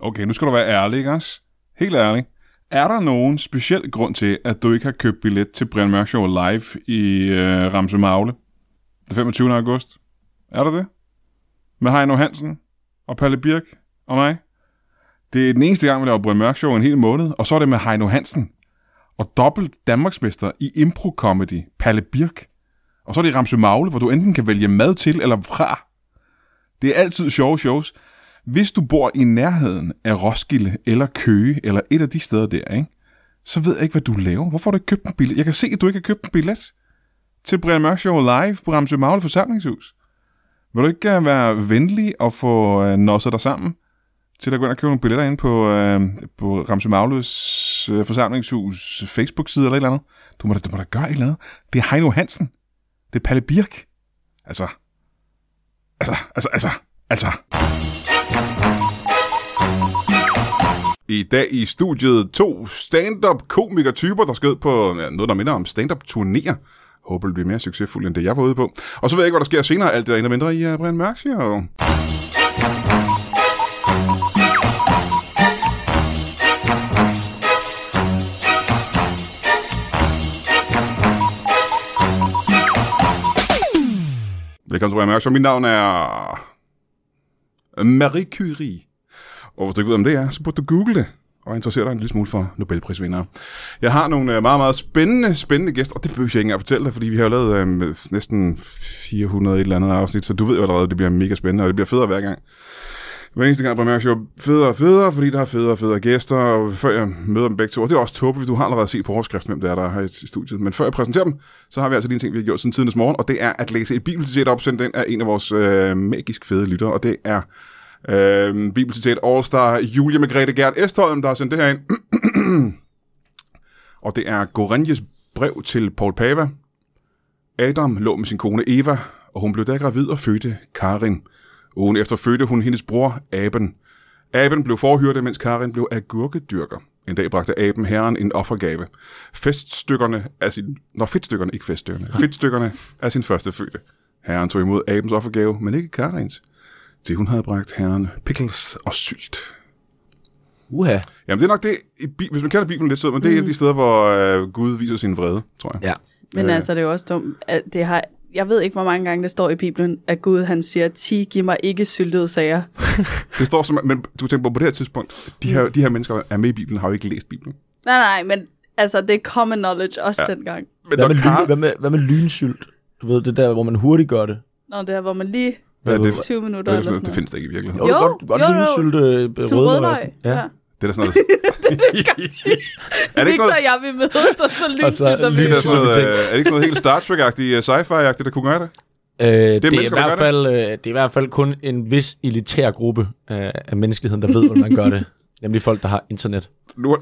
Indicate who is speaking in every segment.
Speaker 1: okay, nu skal du være ærlig, ikke også? Helt ærlig. Er der nogen speciel grund til, at du ikke har købt billet til Brian Mørk Show live i øh, Ramse Magle den 25. august? Er der det? Med Heino Hansen og Palle Birk og mig? Det er den eneste gang, vi laver Brian Mørk Show i en hel måned, og så er det med Heino Hansen. Og dobbelt Danmarksmester i impro-comedy, Palle Birk. Og så er det i Ramse Magle, hvor du enten kan vælge mad til eller fra. Det er altid sjove shows. Hvis du bor i nærheden af Roskilde eller Køge eller et af de steder der, ikke? så ved jeg ikke, hvad du laver. Hvorfor har du ikke købt en billet? Jeg kan se, at du ikke har købt en billet til Brian Mørk Show live på Ramsø Magle forsamlingshus. Vil du ikke øh, være venlig og få øh, nosset dig sammen til at gå ind og købe nogle billetter ind på, øh, på Ramsø Magles øh, forsamlingshus Facebook-side eller et eller andet? Du må, da, du må da gøre et eller andet. Det er Heino Hansen. Det er Palle Birk. Altså, altså, altså, altså, altså. I dag i studiet to stand-up komikertyper, der skød på ja, noget, der minder om stand-up turnéer. Håber det bliver mere succesfuldt, end det jeg var ude på. Og så ved jeg ikke, hvad der sker senere. Alt det der endnu mindre i uh, Brian Mørk, siger jo. Velkommen til Brian Mørk. Så mit navn er... Marie Curie. Og hvis du ikke ved, om det er, så burde du google det og interessere dig en lille smule for Nobelprisvindere. Jeg har nogle øh, meget, meget spændende, spændende gæster, og det behøver jeg ikke engang at fortælle dig, fordi vi har jo lavet øh, næsten 400 et eller andet afsnit, så du ved jo allerede, at det bliver mega spændende, og det bliver federe hver gang. Hver eneste gang på Mærks Show, federe og federe, fordi der er federe og federe gæster, og før jeg møder dem begge to, og det er også tåbeligt, du har allerede set på overskriften, hvem det er, der er her i studiet. Men før jeg præsenterer dem, så har vi altså lige en ting, vi har gjort siden tidens morgen, og det er at læse et bibelcitat op, sendt ind af en af vores øh, magisk fede lyttere, og det er øh, bibelcitat All-Star Julia Margrethe Gert Estholm, der har sendt det her ind. og det er Goranjes brev til Paul Pava. Adam lå med sin kone Eva, og hun blev da gravid og fødte Karin. Ugen efter fødte hun hendes bror, Aben. Aben blev forhyrte, mens Karin blev agurkedyrker. En dag bragte aben herren en offergave. Feststykkerne af sin... Nå, fedtstykkerne, ikke feststykkerne. Fedtstykkerne af sin første fødte. Herren tog imod abens offergave, men ikke Karins. Til hun havde bragt herren pickles og sylt.
Speaker 2: Uha.
Speaker 1: Jamen, det er nok det, i Bi- hvis man kender Bibelen lidt, så men det er et af de steder, hvor øh, Gud viser sin vrede, tror jeg.
Speaker 2: Ja.
Speaker 3: Men
Speaker 1: Øh.
Speaker 3: øh. altså, det er jo også dumt. At det har, jeg ved ikke, hvor mange gange det står i Bibelen, at Gud han siger, ti, giv mig ikke syltede sager.
Speaker 1: Det står som, men du tænker på, på det her tidspunkt, de her, de her mennesker, der er med i Bibelen, har jo ikke læst Bibelen.
Speaker 3: Nej, nej, men altså, det er common knowledge også ja. dengang.
Speaker 1: Men
Speaker 2: Hvad
Speaker 1: når
Speaker 2: med, lyn,
Speaker 1: Karen,
Speaker 2: hvad, med, hvad med lynsylt? Du ved, det der, hvor man hurtigt gør det.
Speaker 3: Nå, det er, hvor man lige
Speaker 1: hvad er det, for-
Speaker 3: 20 minutter
Speaker 1: hvad er
Speaker 3: eller
Speaker 1: det, for noget? det
Speaker 3: sådan noget.
Speaker 1: findes da ikke i virkeligheden.
Speaker 2: Jo, du kan
Speaker 3: Jo,
Speaker 2: godt, du kan godt
Speaker 3: jo, jo.
Speaker 2: lynsylt øh,
Speaker 3: Som rødløg. Ja. ja.
Speaker 1: Det er da sådan noget... er det ikke
Speaker 3: Victor
Speaker 1: sådan
Speaker 3: og jeg, vi mødes, og så lynsylter
Speaker 1: noget,
Speaker 3: vi.
Speaker 1: det er sådan noget,
Speaker 2: Ting.
Speaker 1: øh, er det ikke sådan noget helt Star Trek-agtigt, øh, sci-fi-agtigt, der kunne gøre det?
Speaker 2: Øh, det, er i
Speaker 1: mennesker, der
Speaker 2: hvert
Speaker 1: gør
Speaker 2: fald, øh, det er i hvert fald kun en vis elitær gruppe øh, af menneskeheden, der ved, hvordan man gør det. Nemlig folk, der har internet.
Speaker 1: Nu har,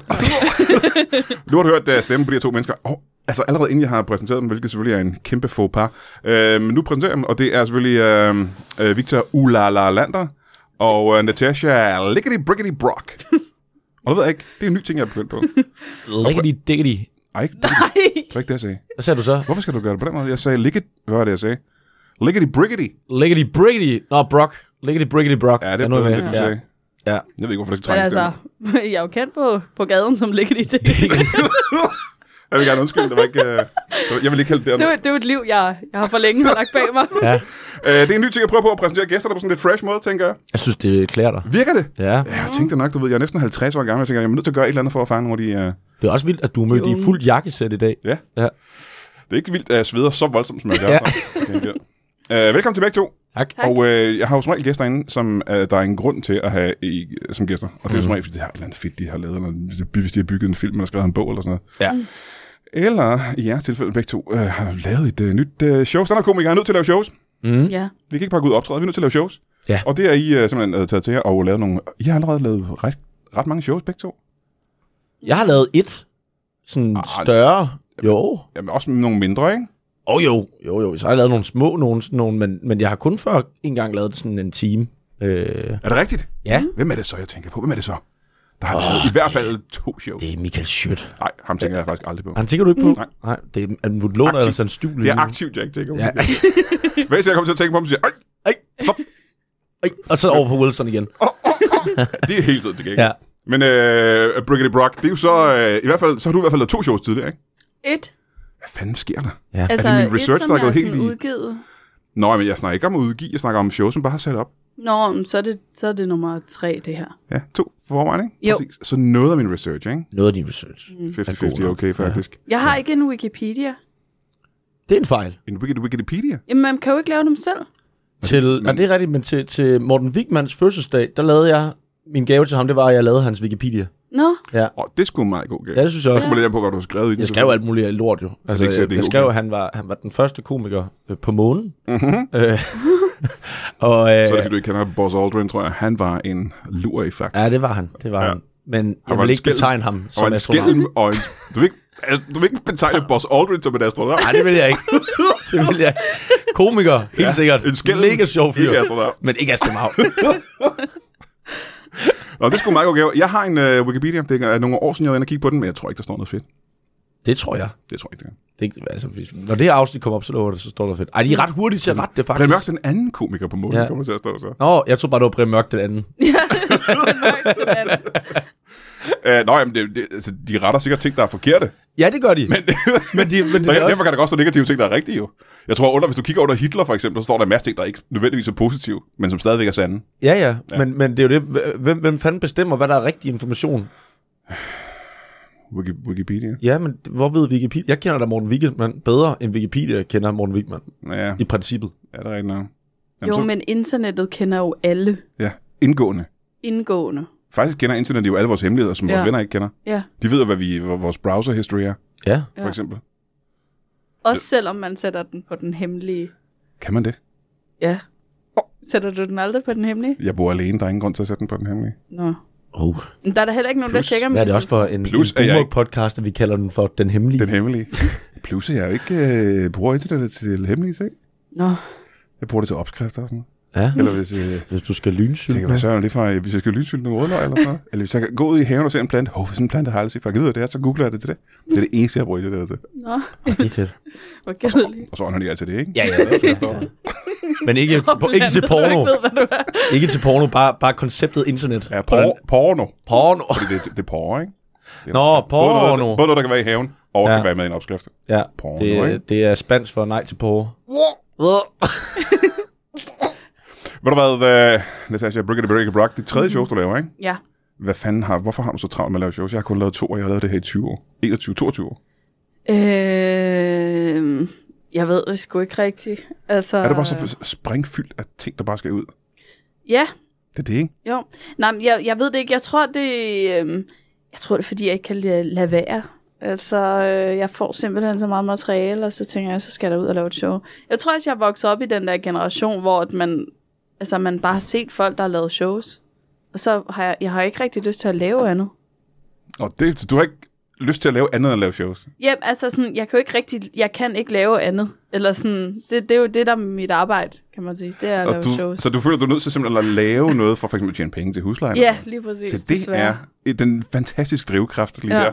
Speaker 1: nu har du hørt deres stemme på de her to mennesker. Og, altså allerede inden jeg har præsenteret dem, hvilket selvfølgelig er en kæmpe faux pas. Øh, men nu præsenterer jeg dem, og det er selvfølgelig øh, øh, Victor Ulala Lander og øh, Natasha Lickety Brickety Brock. og det ved jeg ikke, det er en ny ting, jeg er begyndt på.
Speaker 2: Liggedy diggedy.
Speaker 1: Ej, ikke- det
Speaker 3: Nej,
Speaker 1: var ikke det, jeg sagde.
Speaker 2: Hvad sagde du så?
Speaker 1: Hvorfor skal du gøre det på den måde? Jeg sagde Lickety... Hvad var det, jeg sagde? Lickety Brickety.
Speaker 2: Liggedy briggedy. Nå, Brock. Liggedy briggedy Brock.
Speaker 1: Ja, det er
Speaker 2: nu
Speaker 1: bedre,
Speaker 2: med.
Speaker 1: end det, du
Speaker 2: ja.
Speaker 1: sagde.
Speaker 2: Ja.
Speaker 1: Jeg ved ikke, hvorfor du skal
Speaker 3: men
Speaker 1: trænge
Speaker 3: altså,
Speaker 1: stemmen.
Speaker 3: jeg er jo kendt på, på gaden, som ligger i det.
Speaker 1: Jeg vil gerne undskylde, det var ikke... Øh, det var- jeg vil ikke hælde det
Speaker 3: Det er, jo- det er jo et liv, jeg, jeg har for længe lagt bag mig.
Speaker 2: ja.
Speaker 1: Øh, det er en ny ting, jeg prøver på at præsentere gæsterne på sådan en lidt fresh måde, tænker jeg.
Speaker 2: Jeg synes, det klæder dig.
Speaker 1: Virker det?
Speaker 2: Ja.
Speaker 1: Ja, jeg tænkte nok, du ved, jeg er næsten 50 år gammel, jeg tænker, jeg er nødt til at gøre et eller andet for at fange nogle af de... Uh...
Speaker 2: Det er også vildt, at du er mødt i
Speaker 3: unge.
Speaker 2: fuld jakkesæt i dag.
Speaker 1: Ja.
Speaker 2: ja.
Speaker 1: Det er ikke vildt, at jeg sveder så voldsomt, som jeg gør.
Speaker 2: Ja.
Speaker 1: så. Okay, ja. Uh, velkommen til begge to.
Speaker 2: Tak.
Speaker 1: Og uh, jeg har jo som regel gæster inde, som uh, der er en grund til at have i, som gæster. Og det er jo som regel, fordi det har et eller andet fedt, de har lavet, eller hvis de- hvis de har bygget en film, eller skrevet en bog, eller sådan
Speaker 2: Ja.
Speaker 1: noget. Eller i jeres tilfælde begge to uh, har lavet et uh, nyt uh, show. Standardkomikere er nødt til at lave shows.
Speaker 2: Mm.
Speaker 3: Ja.
Speaker 1: Vi kan ikke bare gå ud og optræde, vi er nødt til at lave shows.
Speaker 2: Ja.
Speaker 1: Og det er I uh, simpelthen uh, taget til jer og lavet nogle... I har allerede lavet ret, ret mange shows begge to.
Speaker 2: Jeg har lavet et sådan
Speaker 1: Ah,
Speaker 2: større. Jo.
Speaker 1: Jamen, også nogle mindre, ikke?
Speaker 2: Åh oh, jo, jo jo, så har jeg lavet nogle små nogle, sådan nogle men, men jeg har kun før engang lavet sådan en time. Øh,
Speaker 1: Er det rigtigt?
Speaker 2: ja,
Speaker 1: Hvem er det så, jeg tænker på? Hvem er det så? Der har oh, i hvert fald to shows.
Speaker 2: det er Michael Schødt.
Speaker 1: Nej, ham tænker jeg faktisk aldrig på.
Speaker 2: Han tænker du ikke på?
Speaker 1: Nej.
Speaker 2: Nej det er en låner
Speaker 1: Aktiv.
Speaker 2: eller sådan en stue.
Speaker 1: Mm. Det er aktivt, jeg ikke tænker på.
Speaker 2: Ja.
Speaker 1: Ja. Hvis jeg kommer til at tænke på ham, så siger jeg, "Ej,
Speaker 2: Ej,
Speaker 1: stop.
Speaker 2: Ej, og så over på Wilson igen.
Speaker 1: Åh, åh, åh, det er helt tiden til gengæld.
Speaker 2: Ja.
Speaker 1: Ja. Men øh, Brigitte Brock, det er jo så... Øh, I hvert fald, så har du i hvert fald lavet to shows tidligere, ikke?
Speaker 3: Et.
Speaker 1: Hvad fanden sker der?
Speaker 2: Ja.
Speaker 3: Altså,
Speaker 1: min
Speaker 3: et,
Speaker 1: research,
Speaker 3: som
Speaker 1: der er
Speaker 3: jeg
Speaker 1: gået helt
Speaker 3: sådan
Speaker 1: i?
Speaker 3: udgivet.
Speaker 1: Nå, men jeg snakker ikke om at udgive, jeg snakker om shows, som bare har sat op.
Speaker 3: Nå, men så er, det, så er det nummer tre, det her.
Speaker 1: Ja, to for mig, ikke?
Speaker 3: Jo.
Speaker 1: Præcis. Så noget af min research, ikke?
Speaker 2: Noget af din research.
Speaker 1: Mm. 50-50
Speaker 2: god
Speaker 1: er
Speaker 2: nok.
Speaker 1: okay, faktisk.
Speaker 3: Jeg har ikke en Wikipedia.
Speaker 2: Det er en fejl.
Speaker 1: En Wikid- Wikipedia?
Speaker 3: Jamen, man kan jo ikke lave dem selv.
Speaker 2: Til, men, det er rigtigt, men til, til Morten Wigmans fødselsdag, der lavede jeg... Min gave til ham, det var, at jeg lavede hans Wikipedia.
Speaker 3: Nå,
Speaker 1: Åh, det skulle meget god gave.
Speaker 2: Ja,
Speaker 1: Ja.
Speaker 2: det synes jeg
Speaker 1: Jeg
Speaker 2: også.
Speaker 1: skulle lidt an på, hvad du har skrevet i den.
Speaker 2: Jeg skrev alt muligt lort jo. Altså,
Speaker 1: ikke
Speaker 2: jeg,
Speaker 1: sikkert, det er
Speaker 2: jeg skrev,
Speaker 1: okay.
Speaker 2: at han var, han var den første komiker øh, på månen.
Speaker 1: Mm-hmm.
Speaker 2: Øh, og, øh,
Speaker 1: Så er det, fordi du ikke kender Buzz Aldrin, tror jeg. Han var en lur i faktisk.
Speaker 2: ja, det var han. Det var
Speaker 1: Ja.
Speaker 2: ja. han. Men
Speaker 1: var
Speaker 2: jeg vil
Speaker 1: en
Speaker 2: ikke
Speaker 1: skælm.
Speaker 2: betegne ham
Speaker 1: og
Speaker 2: som
Speaker 1: en
Speaker 2: astronaut.
Speaker 1: skælm og en... Du vil ikke, altså, du vil ikke betegne Buzz Aldrin som en astronaut.
Speaker 2: Nej, det vil jeg ikke. Det vil jeg ikke. Komiker, helt ja, sikkert.
Speaker 1: en skælm.
Speaker 2: Mega sjov fyr.
Speaker 1: Ikke astronaut.
Speaker 2: Men ikke astronaut.
Speaker 1: Nå, det skulle meget god gave. Jeg har en uh, Wikipedia. Det er nogle år siden, jeg var inde og kigge på den, men jeg tror ikke, der står noget fedt.
Speaker 2: det tror jeg.
Speaker 1: Det tror jeg ikke, det gør.
Speaker 2: Det, er ikke- altså, hvis, når det her afsnit kommer op, så lover det, så står der fedt. Ej, de er ret hurtige til at rette det,
Speaker 1: Brian
Speaker 2: faktisk.
Speaker 1: Mørk, den anden komiker på måden, ja.
Speaker 2: Ja.
Speaker 1: kommer til at stå så.
Speaker 2: Nå, jeg tror bare, det var Brian Mørk den anden.
Speaker 1: Uh, nå, jamen, det, det, altså, de retter sikkert ting, der er forkerte.
Speaker 2: Ja, det gør de. Men, men, de, men
Speaker 1: Der,
Speaker 2: det er
Speaker 1: derfor
Speaker 2: også...
Speaker 1: kan der godt stå negative ting, der er rigtige jo. Jeg tror, under, hvis du kigger under Hitler for eksempel, så står der en masse ting, der ikke nødvendigvis er positive, men som stadigvæk er sande.
Speaker 2: Ja, ja, ja. Men, men det er jo det. Hvem, hvem fanden bestemmer, hvad der er rigtig information?
Speaker 1: Wiki- Wikipedia.
Speaker 2: Ja, men hvor ved Wikipedia? Jeg kender da Morten Wigman bedre, end Wikipedia kender Morten Wigman.
Speaker 1: Ja,
Speaker 2: I princippet.
Speaker 1: er det er rigtigt nok? Jamen,
Speaker 3: jo,
Speaker 1: så,
Speaker 3: men internettet kender jo alle
Speaker 1: ja, indgående.
Speaker 3: indgående.
Speaker 1: Faktisk kender internettet jo alle vores hemmeligheder, som vores
Speaker 3: Ja.
Speaker 1: venner ikke kender.
Speaker 3: Ja,
Speaker 1: De ved jo, hvad, vi, hvad vores browser history er,
Speaker 2: Ja.
Speaker 1: for
Speaker 3: Ja.
Speaker 1: eksempel.
Speaker 3: også selvom man sætter den på den hemmelige.
Speaker 1: Kan man det?
Speaker 3: Ja. Sætter du den aldrig på den hemmelige?
Speaker 1: Jeg bor alene, der er ingen grund til at sætte den på den hemmelige.
Speaker 3: Nå.
Speaker 2: Oh.
Speaker 3: Men der er da heller ikke nogen,
Speaker 1: Plus,
Speaker 3: der tjekker
Speaker 2: Hvad er det
Speaker 3: min
Speaker 2: også for en,
Speaker 1: Plus,
Speaker 2: Plus,
Speaker 1: at
Speaker 2: en
Speaker 1: jeg ikke-
Speaker 2: podcast, at vi kalder den for Den Hemmelige?
Speaker 1: Den hemmelige. Plus, at jeg jo ikke øh, bruger internettet til hemmelige ting.
Speaker 3: telefon. Nå.
Speaker 1: Jeg bruger det til opskrifter og sådan noget.
Speaker 2: Ja.
Speaker 1: Eller hvis, øh,
Speaker 2: Hvis du skal
Speaker 1: tænker,
Speaker 2: lynsyge.
Speaker 1: hvad søren er det for, øh, hvis jeg skal lynsylte noget rødløg eller sådan noget? Eller hvis jeg kan gå ud i haven og se en plante. Åh, oh, sådan en plante har jeg aldrig set, for jeg gider det her, så googler jeg det til det. Det er det eneste, jeg bruger internettet til.
Speaker 3: Nå,
Speaker 2: Det er fedt.
Speaker 3: hvor kedeligt.
Speaker 1: Og så ånder jeg til det, ikke?
Speaker 2: Ja, ja. Men ikke, til, ikke til
Speaker 3: Du
Speaker 2: porno.
Speaker 3: ikke ved, hvad du er.
Speaker 2: Ikke til porno, bare, bare konceptet internet.
Speaker 1: Ja, por porno.
Speaker 2: Porno.
Speaker 1: Fordi det, det, det er porre, ikke? Det er
Speaker 2: Nå,
Speaker 1: opskrift. Både
Speaker 2: porno.
Speaker 1: noget, både noget, der kan være i haven, og ja.
Speaker 2: Ja.
Speaker 1: kan være med i en opskrift.
Speaker 2: Ja,
Speaker 1: Porno, ikke?
Speaker 2: det, det er spansk for nej til porno.
Speaker 1: Ved du hvad, øh, Natasha, Brigitte Brigitte Brock, de tredje shows, du laver, ikke?
Speaker 3: Ja.
Speaker 1: Hvad fanden har, hvorfor har du så travlt med at lave shows? Jeg har kun lavet to, og jeg har lavet det her i 20 år. 21, 22 år.
Speaker 3: Øh, jeg ved det sgu ikke rigtigt. Altså,
Speaker 1: Er du bare så
Speaker 2: Øh.
Speaker 1: springfyldt af ting, der bare skal ud?
Speaker 3: Ja,
Speaker 1: Det er det, ikke?
Speaker 3: jo. Nej, men jeg, jeg ved det ikke. Jeg tror, det, øh, jeg tror, det er, fordi jeg ikke kan lade, lade være. Altså, øh, jeg får simpelthen så meget materiale, og så tænker jeg, så skal jeg da ud og lave et show. Jeg tror også, jeg voksede op i den der generation, hvor at man, altså, man bare har set folk, der har lavet shows. Og så har jeg, jeg har ikke rigtig lyst til at lave andet.
Speaker 1: Og det, så du har ikke lyst til at lave andet end at lave shows.
Speaker 3: Ja, altså sådan, jeg kan jo ikke rigtig, jeg kan ikke lave andet. Eller sådan, det, det er jo det, der er mit arbejde, kan man sige. Det er at
Speaker 1: Og
Speaker 3: lave
Speaker 1: du,
Speaker 3: shows.
Speaker 1: så du føler, du er nødt til simpelthen at lave noget for for eksempel at tjene penge til huslejen?
Speaker 3: Ja, lige præcis.
Speaker 1: Så det er et- den fantastiske drivkraft lige ja.
Speaker 3: Ja.
Speaker 1: der.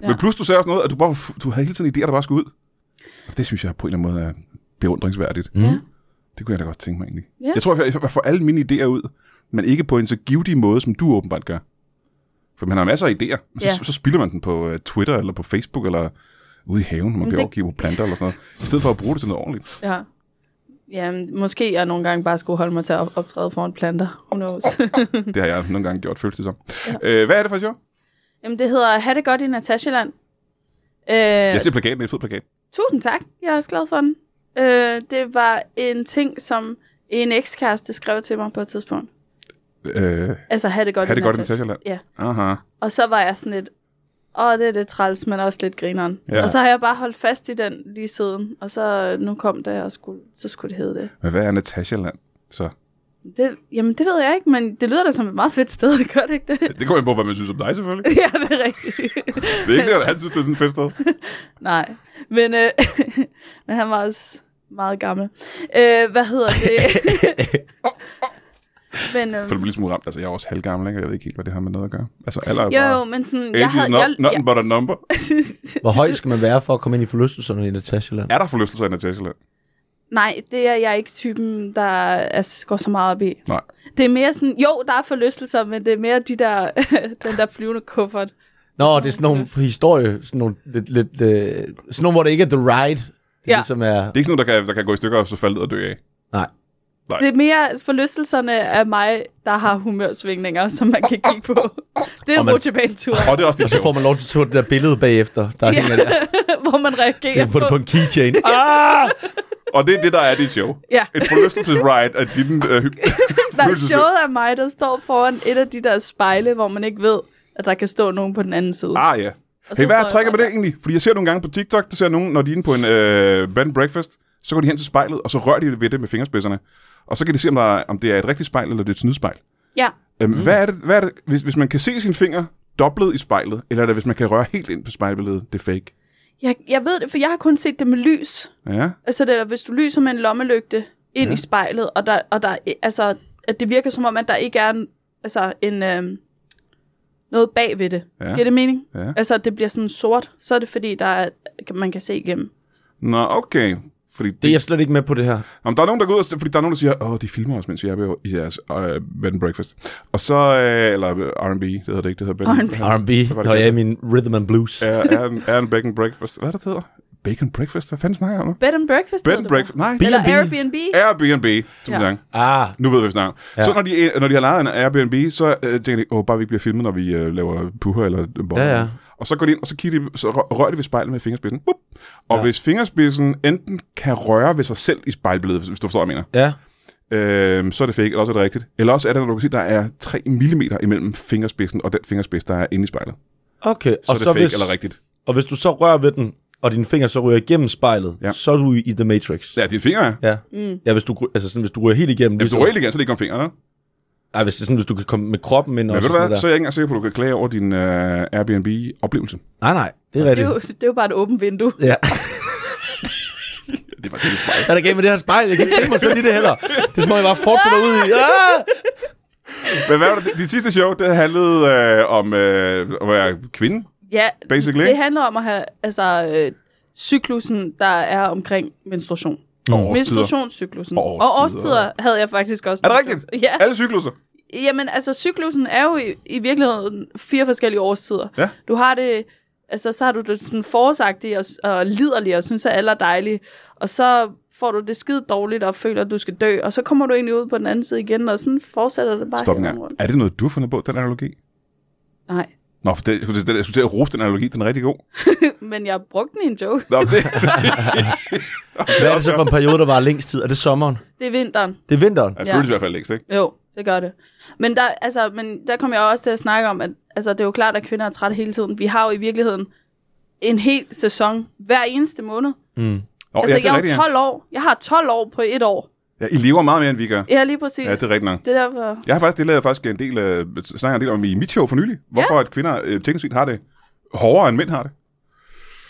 Speaker 1: Men
Speaker 3: Ja.
Speaker 1: plus du sagde også noget, at du, bare, du havde hele tiden idéer, der bare skulle ud. Og det synes jeg på en eller anden måde er beundringsværdigt.
Speaker 3: Ja.
Speaker 1: Det kunne jeg da godt tænke mig egentlig.
Speaker 3: Ja.
Speaker 1: Jeg tror, jeg, jeg får alle mine idéer ud, men ikke på en så givetig måde, som du åbenbart gør. For man har masser af idéer, men så,
Speaker 3: Ja.
Speaker 1: så spilder man den på uh, Twitter eller på Facebook eller ude i haven, når man
Speaker 3: Men
Speaker 1: kan
Speaker 3: det-
Speaker 1: overgive på planter eller sådan noget. I stedet for at bruge det til noget ordentligt.
Speaker 3: Ja. ja, men måske jeg nogle gange bare skulle holde mig til at optræde foran planter. Who knows?
Speaker 1: Det har jeg nogle gange gjort føles det som. Ja. Uh, hvad er det for et show?
Speaker 3: Jamen, det hedder Ha' det godt i Natasjaland. Øh,
Speaker 1: Jeg ser plakaten, det er en fed plakat.
Speaker 3: Tusind tak. Jeg er også glad for den. Øh, det var en ting, som en ekskæreste skrev til mig på et tidspunkt.
Speaker 1: Uh,
Speaker 3: Altså, ha' det godt,
Speaker 1: ha' det godt i
Speaker 3: Natasja-
Speaker 1: Natasjaland.
Speaker 3: Ja.
Speaker 1: Aha.
Speaker 3: Og så var jeg sådan lidt, åh, det er lidt træls, men også lidt grineren.
Speaker 1: Ja.
Speaker 3: Ja. Og så har jeg bare holdt fast i den lige siden, og så øh, nu kom det, og skulle, så skulle det hedde det.
Speaker 1: Men hvad er Natasjaland så?
Speaker 3: det. Jamen, det ved jeg ikke, men det lyder da som et meget fedt sted, gør det ikke det?
Speaker 1: Det kommer ind på, hvad man synes om dig selvfølgelig.
Speaker 3: ja, det er rigtigt.
Speaker 1: Det er ikke sikkert, at han synes, det er sådan et fedt sted.
Speaker 3: Nej, men, øh, men han var også meget gammel. Øh, hvad hedder det? men,
Speaker 1: Jeg
Speaker 3: øh,
Speaker 1: føler mig lidt smule ramt. Altså, jeg er også halvgammel, ikke? Og Jeg ved ikke helt, hvad det har med noget at gøre. Altså, alder er
Speaker 3: jo, jo,
Speaker 1: bare...
Speaker 3: men sådan,
Speaker 1: Age
Speaker 3: jeg
Speaker 1: is
Speaker 3: havde...
Speaker 1: not,
Speaker 3: Jeg,
Speaker 1: nothing but a number.
Speaker 2: Hvor høj skal man være for at komme ind i forlystelserne i Natasjaland?
Speaker 1: Er der forlystelser i Natasjaland?
Speaker 3: Nej, det er jeg ikke typen, der altså, går så meget op i.
Speaker 1: Nej.
Speaker 3: Det er mere sådan, jo, der er forlystelser, men det er mere de der, den der flyvende kuffert.
Speaker 2: Nå,
Speaker 3: Ligesom
Speaker 2: det er sådan nogle historie, sådan nogle, lidt, lidt, øh, sådan nogle, hvor det ikke er The Ride, det
Speaker 3: Ja.
Speaker 2: ja. ligesom er...
Speaker 1: Det er ikke sådan noget, der kan, der kan gå i stykker og så falde ned og dø af.
Speaker 2: Nej.
Speaker 3: Det er mere forlystelserne af mig, der har humørsvingninger, som man kan kigge på. Det er
Speaker 2: Og
Speaker 3: en
Speaker 2: man-
Speaker 3: rutsjebanetur,
Speaker 1: Og det er også det
Speaker 2: Og så
Speaker 1: sjovt.
Speaker 2: får man lov til at tage det der billede bagefter, der
Speaker 3: Ja.
Speaker 2: ja. hænger der.
Speaker 3: hvor man
Speaker 2: Så
Speaker 3: reagerer
Speaker 2: jeg får det på
Speaker 3: på.
Speaker 2: en keychain. Ah!
Speaker 1: Og det er det, der er dit show.
Speaker 3: Ja.
Speaker 1: Et forlystelsesride af din øh, hy-
Speaker 3: Nej,
Speaker 1: følelsesmæ-
Speaker 3: showet af mig, der står foran et af de der spejle, hvor man ikke ved, at der kan stå nogen på den anden side.
Speaker 1: Ah ja.
Speaker 3: Og så
Speaker 1: Hey, hvad
Speaker 3: står
Speaker 1: er
Speaker 3: jeg
Speaker 1: trækker med
Speaker 3: bare
Speaker 1: det egentlig? Fordi jeg ser nogle gange på TikTok, der ser nogen, når de er inde på en øh, bed and breakfast, så går de hen til spejlet, og så rører de ved det med fingerspidserne. Og så kan de se, om, der er, om det er et rigtigt spejl, eller det er et snydspejl.
Speaker 3: Ja,
Speaker 1: Øhm, mm. Hvad er det, hvad er det hvis, hvis man kan se sine fingre dobblet i spejlet, eller er det, hvis man kan røre helt ind på spejlbilledet, det er fake?
Speaker 3: jeg, jeg ved det, for jeg har kun set det med lys.
Speaker 1: Ja,
Speaker 3: Altså, det er, hvis du lyser med en lommelygte ind ja. i spejlet, og, der, og der, altså, at det virker som om, at der ikke er en, altså, en, øhm, noget bag ved det.
Speaker 1: Ja.
Speaker 3: Ja. Giver det mening?
Speaker 1: ja.
Speaker 3: Altså, at det bliver sådan sort, så er det fordi, der er, man kan se igennem.
Speaker 1: Nå, okay. Fordi det,
Speaker 2: Det er
Speaker 1: det
Speaker 2: jeg slet ikke med på det her.
Speaker 1: om der er nogen, der går ud og... Fordi der er nogen, der siger, åh, de filmer os, mens jeg er på- i jeres øh, bed and breakfast. Og så... Øh, eller øh, R&B, det hedder det ikke, det hedder bed and
Speaker 3: R&B.
Speaker 2: R&B,
Speaker 1: var det
Speaker 2: når jeg er i
Speaker 1: godt.
Speaker 2: min rhythm and blues.
Speaker 1: er, er, en, er en bacon breakfast. Hvad er det, det hedder? Bacon breakfast? Hvad fanden snakker jeg om nu?
Speaker 3: Bed and breakfast?
Speaker 1: Bed
Speaker 3: hedder
Speaker 1: and
Speaker 3: det
Speaker 1: breakfast. Nej,
Speaker 3: bare.
Speaker 2: Bil-
Speaker 3: Eller
Speaker 2: B&B.
Speaker 3: Airbnb?
Speaker 1: Airbnb. Tusind
Speaker 3: Ja.
Speaker 1: ja.
Speaker 2: Ah,
Speaker 1: Nu ved vi, hvad vi snakker om.
Speaker 2: Ja.
Speaker 1: Så når de, når de har lejet en Airbnb, så øh, tænker de, åh, bare vi ikke bliver filmet, når vi øh, laver puher eller boller.
Speaker 2: Ja, ja.
Speaker 1: Og så går de ind, og så, kigger de, så rø- rører de ved spejlet med fingerspidsen. Bup. Og ja. hvis fingerspidsen enten kan røre ved sig selv i spejlbilledet, hvis, hvis du forstår, hvad jeg
Speaker 2: ja.
Speaker 1: mener, øh, så er det fake, eller også er det rigtigt. Eller også er det, når du kan se, der er 3 mm imellem fingerspidsen og den fingerspids, der er inde i spejlet.
Speaker 2: Okay.
Speaker 1: Så og er det så fake hvis... eller rigtigt.
Speaker 2: Og hvis du så rører ved den, og dine fingre så ryger igennem spejlet,
Speaker 1: Ja.
Speaker 2: ja. så er du i i The Matrix.
Speaker 1: Ja, dine fingre er.
Speaker 2: Ja. Mm. ja hvis, du, gry- altså sådan, hvis du ryger helt igennem.
Speaker 1: Hvis du rører igen, så ligger om fingrene.
Speaker 2: Ej, hvis, det er sådan, hvis du kan komme med kroppen ind
Speaker 1: Men
Speaker 2: og
Speaker 1: ved du
Speaker 2: sådan noget
Speaker 1: hvad,
Speaker 2: der.
Speaker 1: så er jeg ikke engang sikker på, at du kan klage over din øh, Airbnb-oplevelse.
Speaker 2: Nej, nej. Det er
Speaker 3: Det er,
Speaker 2: rigtigt.
Speaker 3: jo, det er jo bare et åbent vindue.
Speaker 2: Ja.
Speaker 1: Det var sådan lidt spejl.
Speaker 2: Hvad er der galt med det her spejl? Jeg kan ikke se mig selv i det heller. Det er som om, jeg bare fortsætter ud i. Ah!
Speaker 1: Men hvad var det? Dit sidste show, det handlede øh, om øh, at være kvinde,
Speaker 3: Ja,
Speaker 1: basically.
Speaker 3: det handler om at have altså, øh, cyklusen, der er omkring menstruation.
Speaker 1: Og
Speaker 2: Mm.
Speaker 1: årstider.
Speaker 3: Menstruationscyklusen.
Speaker 1: Og
Speaker 3: Og
Speaker 1: årstider.
Speaker 3: årstider. havde jeg faktisk også.
Speaker 1: Er det rigtigt?
Speaker 3: Ja.
Speaker 1: Alle cykluser.
Speaker 3: Jamen, altså, cyklusen er jo i, i virkeligheden fire forskellige årstider.
Speaker 1: Ja.
Speaker 3: Du har det, altså, så har du det sådan forårsagtige og, og liderlige, og synes, at alle er dejlige. Og så får du det skide dårligt, og føler, at du skal dø. Og så kommer du egentlig ud på den anden side igen, og sådan fortsætter det bare
Speaker 1: Stop en
Speaker 3: hele
Speaker 1: gang.
Speaker 3: vejen rundt.
Speaker 1: Er det noget, du har fundet på, den analogi?
Speaker 3: Nej,
Speaker 1: Nå, for det, jeg skulle til- jeg skulle til at rose den analogi, den er rigtig god.
Speaker 3: men jeg brugte den i en joke.
Speaker 1: Nå, det,
Speaker 2: Hvad er det så for en periode, der var længst tid? Er det sommeren?
Speaker 3: Det er vinteren.
Speaker 2: Det er vinteren.
Speaker 1: det
Speaker 3: Ja.
Speaker 1: føles i hvert fald længst, ikke?
Speaker 3: Jo, det gør det. Men der, altså, men der kom jeg også til at snakke om, at altså, det er jo klart, at kvinder er trætte hele tiden. Vi har jo i virkeligheden en hel sæson hver eneste måned.
Speaker 2: Mm.
Speaker 1: Oh,
Speaker 3: Altså, jeg er jo
Speaker 1: rigtigt,
Speaker 3: 12 år. Jeg har 12 år på et år.
Speaker 1: ja. ja. I lever meget mere, end vi gør.
Speaker 3: Ja, lige præcis.
Speaker 1: Ja, det er rigtigt nok.
Speaker 3: Det er derfor...
Speaker 1: Jeg har faktisk, det lavede jeg faktisk en del, øh, snakker en del om i mit show for nylig. Hvorfor at kvinder øh, teknisk set har det hårdere, end mænd har det.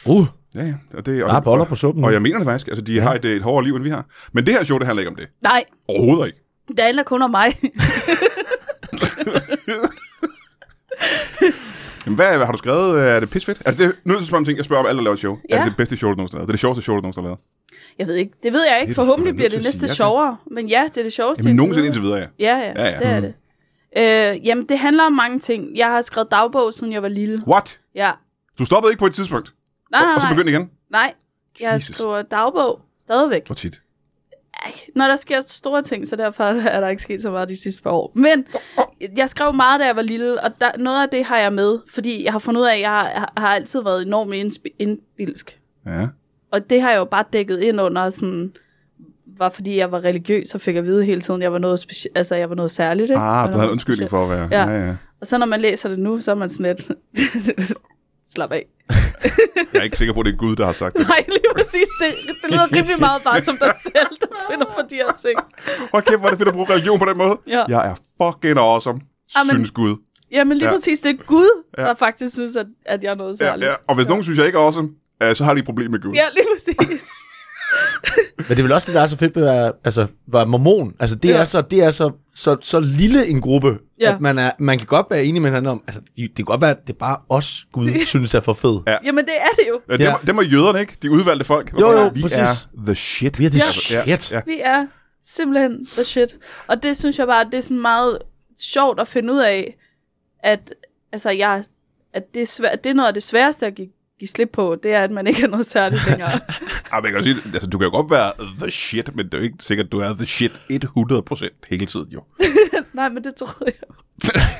Speaker 2: Uh,
Speaker 1: Ja, ja. Og det, og
Speaker 2: der er
Speaker 1: det-
Speaker 2: boller
Speaker 1: og-
Speaker 2: på suppen. nu.
Speaker 1: Og jeg mener det faktisk. Altså, de har et, et hårdere liv, end vi har. Men det her show, det handler ikke om det.
Speaker 3: Nej,
Speaker 1: Overhovedet ikke.
Speaker 3: det handler kun om mig.
Speaker 1: Jamen, hvad har du skrevet? Øh, Er det pisfedt? Altså, det, nu er det sådan en ting, jeg spørger om alle, der laver et show. Ja. Er
Speaker 3: Ja.
Speaker 1: det det bedste show, du nogensinde har lavet? Det er det sjoveste show, du nogensinde har lavet?
Speaker 3: Jeg ved ikke. Det ved jeg
Speaker 1: Det
Speaker 3: ikke.
Speaker 1: er du sgu da
Speaker 3: Forhåbentlig bliver
Speaker 1: nødt
Speaker 3: det
Speaker 1: til at
Speaker 3: næste
Speaker 1: sige ja til.
Speaker 3: sjovere. Men ja, det er det sjoveste.
Speaker 1: Jamen, nogensinde
Speaker 3: videre.
Speaker 1: indtil videre, ja.
Speaker 3: Ja, ja,
Speaker 1: Ja,
Speaker 3: ja,
Speaker 1: ja.
Speaker 3: ja. det er det. Øh, jamen, det handler om mange ting. Jeg har skrevet dagbog, siden jeg var lille.
Speaker 1: What?
Speaker 3: Ja.
Speaker 1: Du stoppede ikke på et tidspunkt?
Speaker 3: Nej,
Speaker 1: og,
Speaker 3: nej,
Speaker 1: og så
Speaker 3: Ah, nej.
Speaker 1: begyndte igen?
Speaker 3: Nej, jeg
Speaker 1: Jesus.
Speaker 3: skriver dagbog stadigvæk.
Speaker 1: Hvor tit?
Speaker 3: Ej, Når der sker store ting, så derfor er der ikke sket så meget de sidste par år. Men jeg skrev meget, da jeg var lille, og der, noget af det har jeg med, fordi jeg har fundet ud af, at jeg har, har altid været enormt indsp- indbilsk.
Speaker 1: Ja. Ah,
Speaker 3: Og det har jeg jo bare dækket ind under, sådan, var fordi jeg var religiøs, og fik at vide hele tiden, at jeg var noget, speci- altså, jeg var noget særligt. Ikke?
Speaker 1: Ah,
Speaker 3: Jeg var
Speaker 1: du havde en
Speaker 3: noget
Speaker 1: undskyldning
Speaker 3: specielt.
Speaker 1: for at være...
Speaker 3: Ja.
Speaker 1: ja. ja.
Speaker 3: Og så når man læser det nu, så er man sådan lidt... Slap af.
Speaker 1: Jeg er ikke sikker på, at det er Gud, der har sagt det.
Speaker 3: Nej, lige præcis. Det, det lyder rimelig meget bare som dig selv, der finder på de her ting.
Speaker 1: Hvor kæft, hvor er det fedt at bruge religion på den måde.
Speaker 3: Ja.
Speaker 1: Jeg er fucking awesome,
Speaker 3: Amen.
Speaker 1: synes Gud.
Speaker 3: Jamen lige
Speaker 1: Ja.
Speaker 3: ja. præcis, det er Gud,
Speaker 1: Ja.
Speaker 3: ja. der faktisk synes, at, at jeg er noget
Speaker 1: Ja,
Speaker 3: særligt.
Speaker 1: ja. Og hvis nogen synes, jeg ikke er awesome, øh, så har de et problem med Gud.
Speaker 3: ja lige præcis.
Speaker 2: Men det er vel også det, der er så fedt ved at være, altså, være mormon. Altså, det
Speaker 3: Ja.
Speaker 2: ja. er, så, det er så, så, så lille en gruppe,
Speaker 3: Ja.
Speaker 2: ja. at man, er, man kan godt være enig med hinanden om, altså, de- det kan godt være, at det er bare os, Gud synes er for fed.
Speaker 1: Ja.
Speaker 2: Ja.
Speaker 3: Jamen, det er det jo.
Speaker 1: Ja, det,
Speaker 2: Ja.
Speaker 1: var, det var jøderne, ikke? De udvalgte folk.
Speaker 2: Jo, jo,
Speaker 1: vi
Speaker 2: præcis.
Speaker 1: er the shit.
Speaker 2: Vi er det
Speaker 1: Altså,
Speaker 2: ja. shit.
Speaker 1: Ja,
Speaker 2: Ja.
Speaker 1: ja.
Speaker 3: Vi er simpelthen the shit. Og det synes jeg bare, det er sådan meget sjovt at finde ud af, at, altså, jeg, at det, er svæ- det er noget af det sværeste at give, give slip på, det er, at man ikke er noget særligt længere.
Speaker 1: Ej, men jeg kan jo sige, altså, du kan jo godt være the shit, men det er jo ikke sikkert, du er the shit 100% hele tiden, jo.
Speaker 3: Nej, men det troede jeg.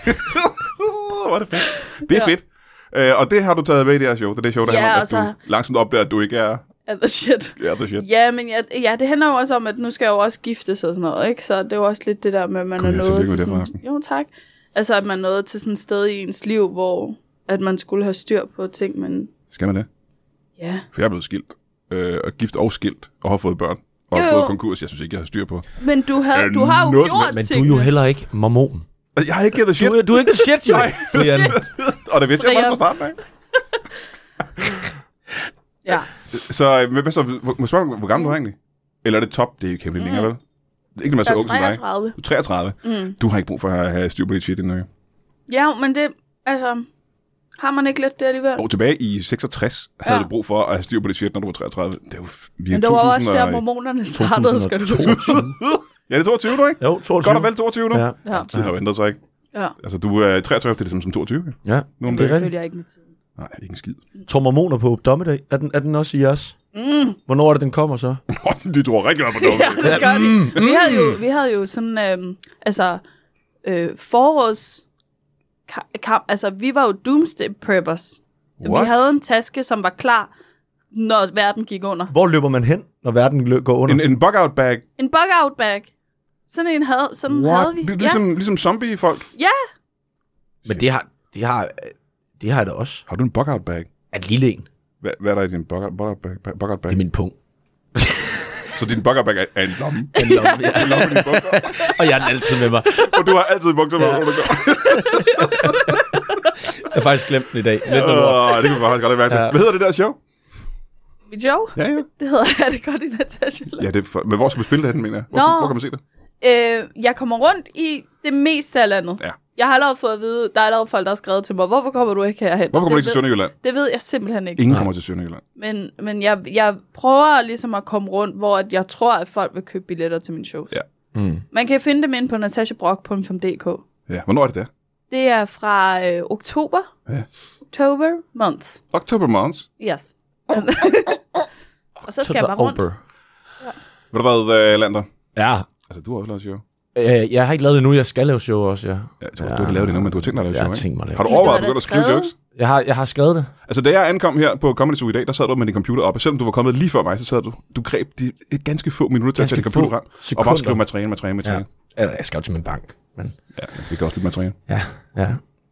Speaker 1: Hvor er det fedt. Det er
Speaker 3: Ja.
Speaker 1: ja. fedt. Øh, og det har du taget med i det her show. Det er det show, der
Speaker 3: Ja,
Speaker 1: handler om,
Speaker 3: og
Speaker 1: at
Speaker 3: så-
Speaker 1: du langsomt opdager, at du ikke er,
Speaker 3: Er the shit.
Speaker 1: er the shit.
Speaker 3: Ja, men jeg, ja, det handler jo også om, at nu skal jeg jo også giftes og sådan noget, ikke? Så det er jo også lidt det der med, at man
Speaker 1: Gud,
Speaker 3: er
Speaker 1: ja,
Speaker 3: nået
Speaker 1: tillykke
Speaker 3: til
Speaker 1: med det,
Speaker 3: sådan...
Speaker 1: forresten.
Speaker 3: Jo, tak. Altså, at man er nået til sådan et sted i ens liv, hvor at man skulle have styr på ting, men
Speaker 1: Skal man det?
Speaker 3: ja.
Speaker 1: For jeg er blevet skilt. Øh, og gift og skilt. Og har fået børn. Og
Speaker 3: Jo,
Speaker 1: har
Speaker 3: jo.
Speaker 1: fået konkurs, jeg synes ikke, jeg har styr på.
Speaker 3: Men du, havde,
Speaker 1: Øh,
Speaker 3: du har jo
Speaker 1: noget som-
Speaker 3: gjort
Speaker 2: Men du
Speaker 3: tingene.
Speaker 2: er jo heller ikke mormon.
Speaker 1: Altså, Jeg har ikke givet the shit.
Speaker 2: Du, er- du er ikke the shit, jo.
Speaker 1: Nej.
Speaker 2: Brian.
Speaker 1: og det vidste jeg faktisk
Speaker 3: Brian.
Speaker 1: fra starten af.
Speaker 3: Ja.
Speaker 1: Så, øh, men hvad så, hvor, må jeg spørge, hvor gammel du er egentlig? Eller er det top? Det er jo ikke hemmelig længere, vel? Det er Ikke, når man er
Speaker 3: Mm. Jeg
Speaker 1: så
Speaker 3: er
Speaker 1: ung som Altså, dig.
Speaker 3: 33.
Speaker 1: Du er 33. Mm. Du har ikke brug for at have styr på dit shit endnu. jo.
Speaker 3: Ja, men det... Altså... Har man ikke lidt det alligevel?
Speaker 1: Og tilbage i 66 havde
Speaker 3: Ja.
Speaker 1: du brug for at have styr på dit shit, når du var 33. Det er jo f- vi er
Speaker 3: Men det var også
Speaker 1: 2000
Speaker 3: der,
Speaker 1: og...
Speaker 3: mormonerne startede, skal du huske.
Speaker 2: 2022.
Speaker 1: Ja, det er 22 nu, ikke?
Speaker 2: Jo, 22.
Speaker 1: Godt og vel 22 nu. Ja.
Speaker 2: Ja,
Speaker 3: Ja,
Speaker 1: Tiden har jo ændret sig, ikke?
Speaker 3: ja.
Speaker 1: Altså, du er 33, det er det samme som 22. ikke?
Speaker 2: ja.
Speaker 1: Nu om
Speaker 2: Det er
Speaker 1: dagen.
Speaker 3: Følger jeg ikke med tiden.
Speaker 1: Nej, ikke en skid.
Speaker 2: Tror mormoner på dommedag? Er den, er den også i jeres?
Speaker 3: Mm.
Speaker 2: Hvornår er det, den kommer så?
Speaker 1: de tror rigtig meget på noget.
Speaker 3: Ja, det gør de.
Speaker 1: Mm.
Speaker 3: Vi havde jo, vi havde jo sådan, øhm, altså, øh, forårs... ka- Kamp, altså, vi var jo doomsday preppers.
Speaker 1: What?
Speaker 3: Vi havde en taske, som var klar, når verden gik under.
Speaker 2: Hvor løber man hen, når verden lø- går under?
Speaker 1: En, en bug-out bag.
Speaker 3: En bug-out bag. Sådan en havde, sådan
Speaker 2: What?
Speaker 3: havde vi.
Speaker 1: Det er ligesom, ligesom zombie-folk.
Speaker 2: Men det har, det har, det har jeg da også.
Speaker 1: Har du en bug-out bag?
Speaker 2: At lille en.
Speaker 1: Hvad, hvad er der i din bug-out bug-out bag? Bug-out
Speaker 2: Det er
Speaker 1: bag?
Speaker 2: min punkt.
Speaker 1: Så din bug-out bag er, er en lomme.
Speaker 2: Den lomme, ja.
Speaker 1: En lomme i dine bukser.
Speaker 2: Og jeg er den altid med mig.
Speaker 1: Og du har altid bukser med,
Speaker 2: Ja.
Speaker 1: hvor du går.
Speaker 2: Jeg har faktisk glemt den i dag. Lidt noget lort.
Speaker 1: Åh, det kunne faktisk aldrig være så.
Speaker 2: Ja.
Speaker 1: Hvad hedder det der show?
Speaker 3: Ja. Mit show?
Speaker 1: Ja, ja.
Speaker 3: Det hedder jeg det godt i Natasha.
Speaker 1: Ja, det er for... Men hvor skal man spille det hen, mener jeg? Hvor,
Speaker 3: Nå.
Speaker 1: hvor kan man se det?
Speaker 3: Øh, jeg kommer rundt i det meste af landet.
Speaker 1: Ja.
Speaker 3: Jeg har allerede fået at vide, der er allerede folk, der har skrevet til mig, hvorfor kommer du ikke herhen?
Speaker 1: Hvorfor kommer du
Speaker 3: det
Speaker 1: ikke til
Speaker 3: ved,
Speaker 1: Sønderjylland?
Speaker 3: Det ved jeg simpelthen ikke.
Speaker 1: Ingen kommer til Sønderjylland.
Speaker 3: Men, men jeg, jeg prøver ligesom at komme rundt, hvor at jeg tror, at folk vil købe billetter til mine shows.
Speaker 1: Ja.
Speaker 2: Mm.
Speaker 3: Man kan finde dem inde på natashabrock.dk.
Speaker 1: Ja, hvornår er det der?
Speaker 3: Det er fra øh, oktober.
Speaker 1: Ja.
Speaker 3: October month.
Speaker 1: October Mons.
Speaker 3: Yes. og så skal jeg bare rundt.
Speaker 1: Ved du hvad, øh, Lander?
Speaker 2: Ja.
Speaker 1: Altså, du har også lavet show.
Speaker 2: Øh, jeg har ikke lavet det nu. Jeg skal lave show også, ja.
Speaker 1: Ja, jeg tror, ja. du kan lave det nu, men du har tænkt dig at lave
Speaker 2: Jeg
Speaker 1: show,
Speaker 2: har
Speaker 1: ikke?
Speaker 2: tænkt mig at lave
Speaker 1: Har du
Speaker 3: det.
Speaker 1: overvejet
Speaker 3: Du
Speaker 1: at begynde
Speaker 3: har da
Speaker 1: at skrive
Speaker 3: skrevet.
Speaker 1: jokes?
Speaker 2: Jeg har, jeg har skrevet det.
Speaker 1: Altså, da jeg ankom her på Comedy Zoo i dag, der sad du med din computer op, og selvom du var kommet lige før mig, så sad du, du greb de et ganske få minutter til at tage din
Speaker 2: Ganske
Speaker 1: computer
Speaker 2: få
Speaker 1: frem, og bare
Speaker 2: sekunder.
Speaker 1: skrive materiale, materiale, materiale.
Speaker 2: Eller, jeg skal jo til min bank. Men
Speaker 1: Ja. ja. vi kan også lidt materiale.
Speaker 2: ja, ja.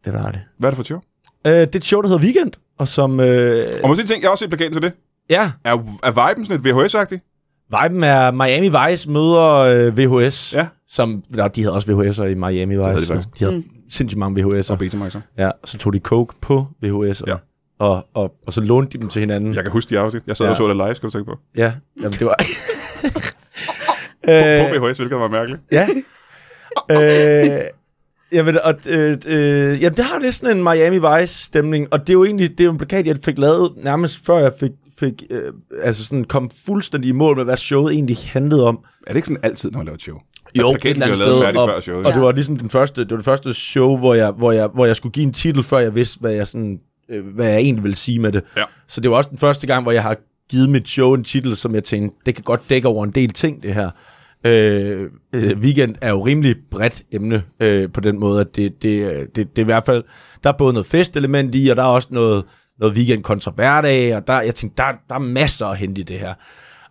Speaker 2: Det var det.
Speaker 1: Hvad er det for et show?
Speaker 2: Øh, det er et show, der hedder Weekend. Og som... Øh,
Speaker 1: Og måske en ting, jeg har også set plakaten til det.
Speaker 2: ja,
Speaker 1: Er, er viben sådan lidt VHS-agtig?
Speaker 2: viben er Miami Vice møder øh, VHS.
Speaker 1: Ja.
Speaker 2: Som, nå, de havde også VHS'er i Miami
Speaker 1: havde de
Speaker 2: Vice. så
Speaker 1: faktisk.
Speaker 2: de havde sindssygt mange VHS'er.
Speaker 1: Og Betamax, så.
Speaker 2: Ja, så tog de coke på VHS'er.
Speaker 1: Ja.
Speaker 2: Og, og, og så lånte de dem til hinanden.
Speaker 1: Jeg kan huske de afsnit. Jeg sad ja. og
Speaker 2: Ja.
Speaker 1: så det live, skal du tænke på.
Speaker 2: Ja, jamen, det var...
Speaker 1: På, på
Speaker 2: øh,
Speaker 1: VHS, hvilket var mærkeligt.
Speaker 2: ja. øh, jamen, og, øh, øh, jamen, det har lidt sådan en Miami Vice-stemning, og det er jo egentlig, det er jo en plakat, jeg fik lavet nærmest før jeg fik, fik øh, altså sådan kom fuldstændig i mål med, hvad showet egentlig handlede om.
Speaker 1: Er det ikke sådan altid, når man laver et show?
Speaker 2: Jo,
Speaker 1: plakaten
Speaker 2: et eller andet
Speaker 1: bliver lavet
Speaker 2: sted,
Speaker 1: færdig
Speaker 2: og,
Speaker 1: før showet,
Speaker 2: og
Speaker 1: ja.
Speaker 2: det var ligesom den første, det var det første show, hvor jeg, hvor, jeg, hvor jeg skulle give en titel, før jeg vidste, hvad jeg, sådan, øh, hvad jeg egentlig ville sige med det.
Speaker 1: Ja.
Speaker 2: Så det var også den første gang, hvor jeg har givet mit show en titel, som jeg tænkte, det kan godt dække over en del ting, det her. Øh, øh, weekend er jo rimelig bredt emne øh, på den måde, at det, det, øh, det, det er i hvert fald, der er både noget festelement i, og der er også noget, noget weekend kontra hverdag, og der, jeg tænkte, der, der er masser at hente i det her.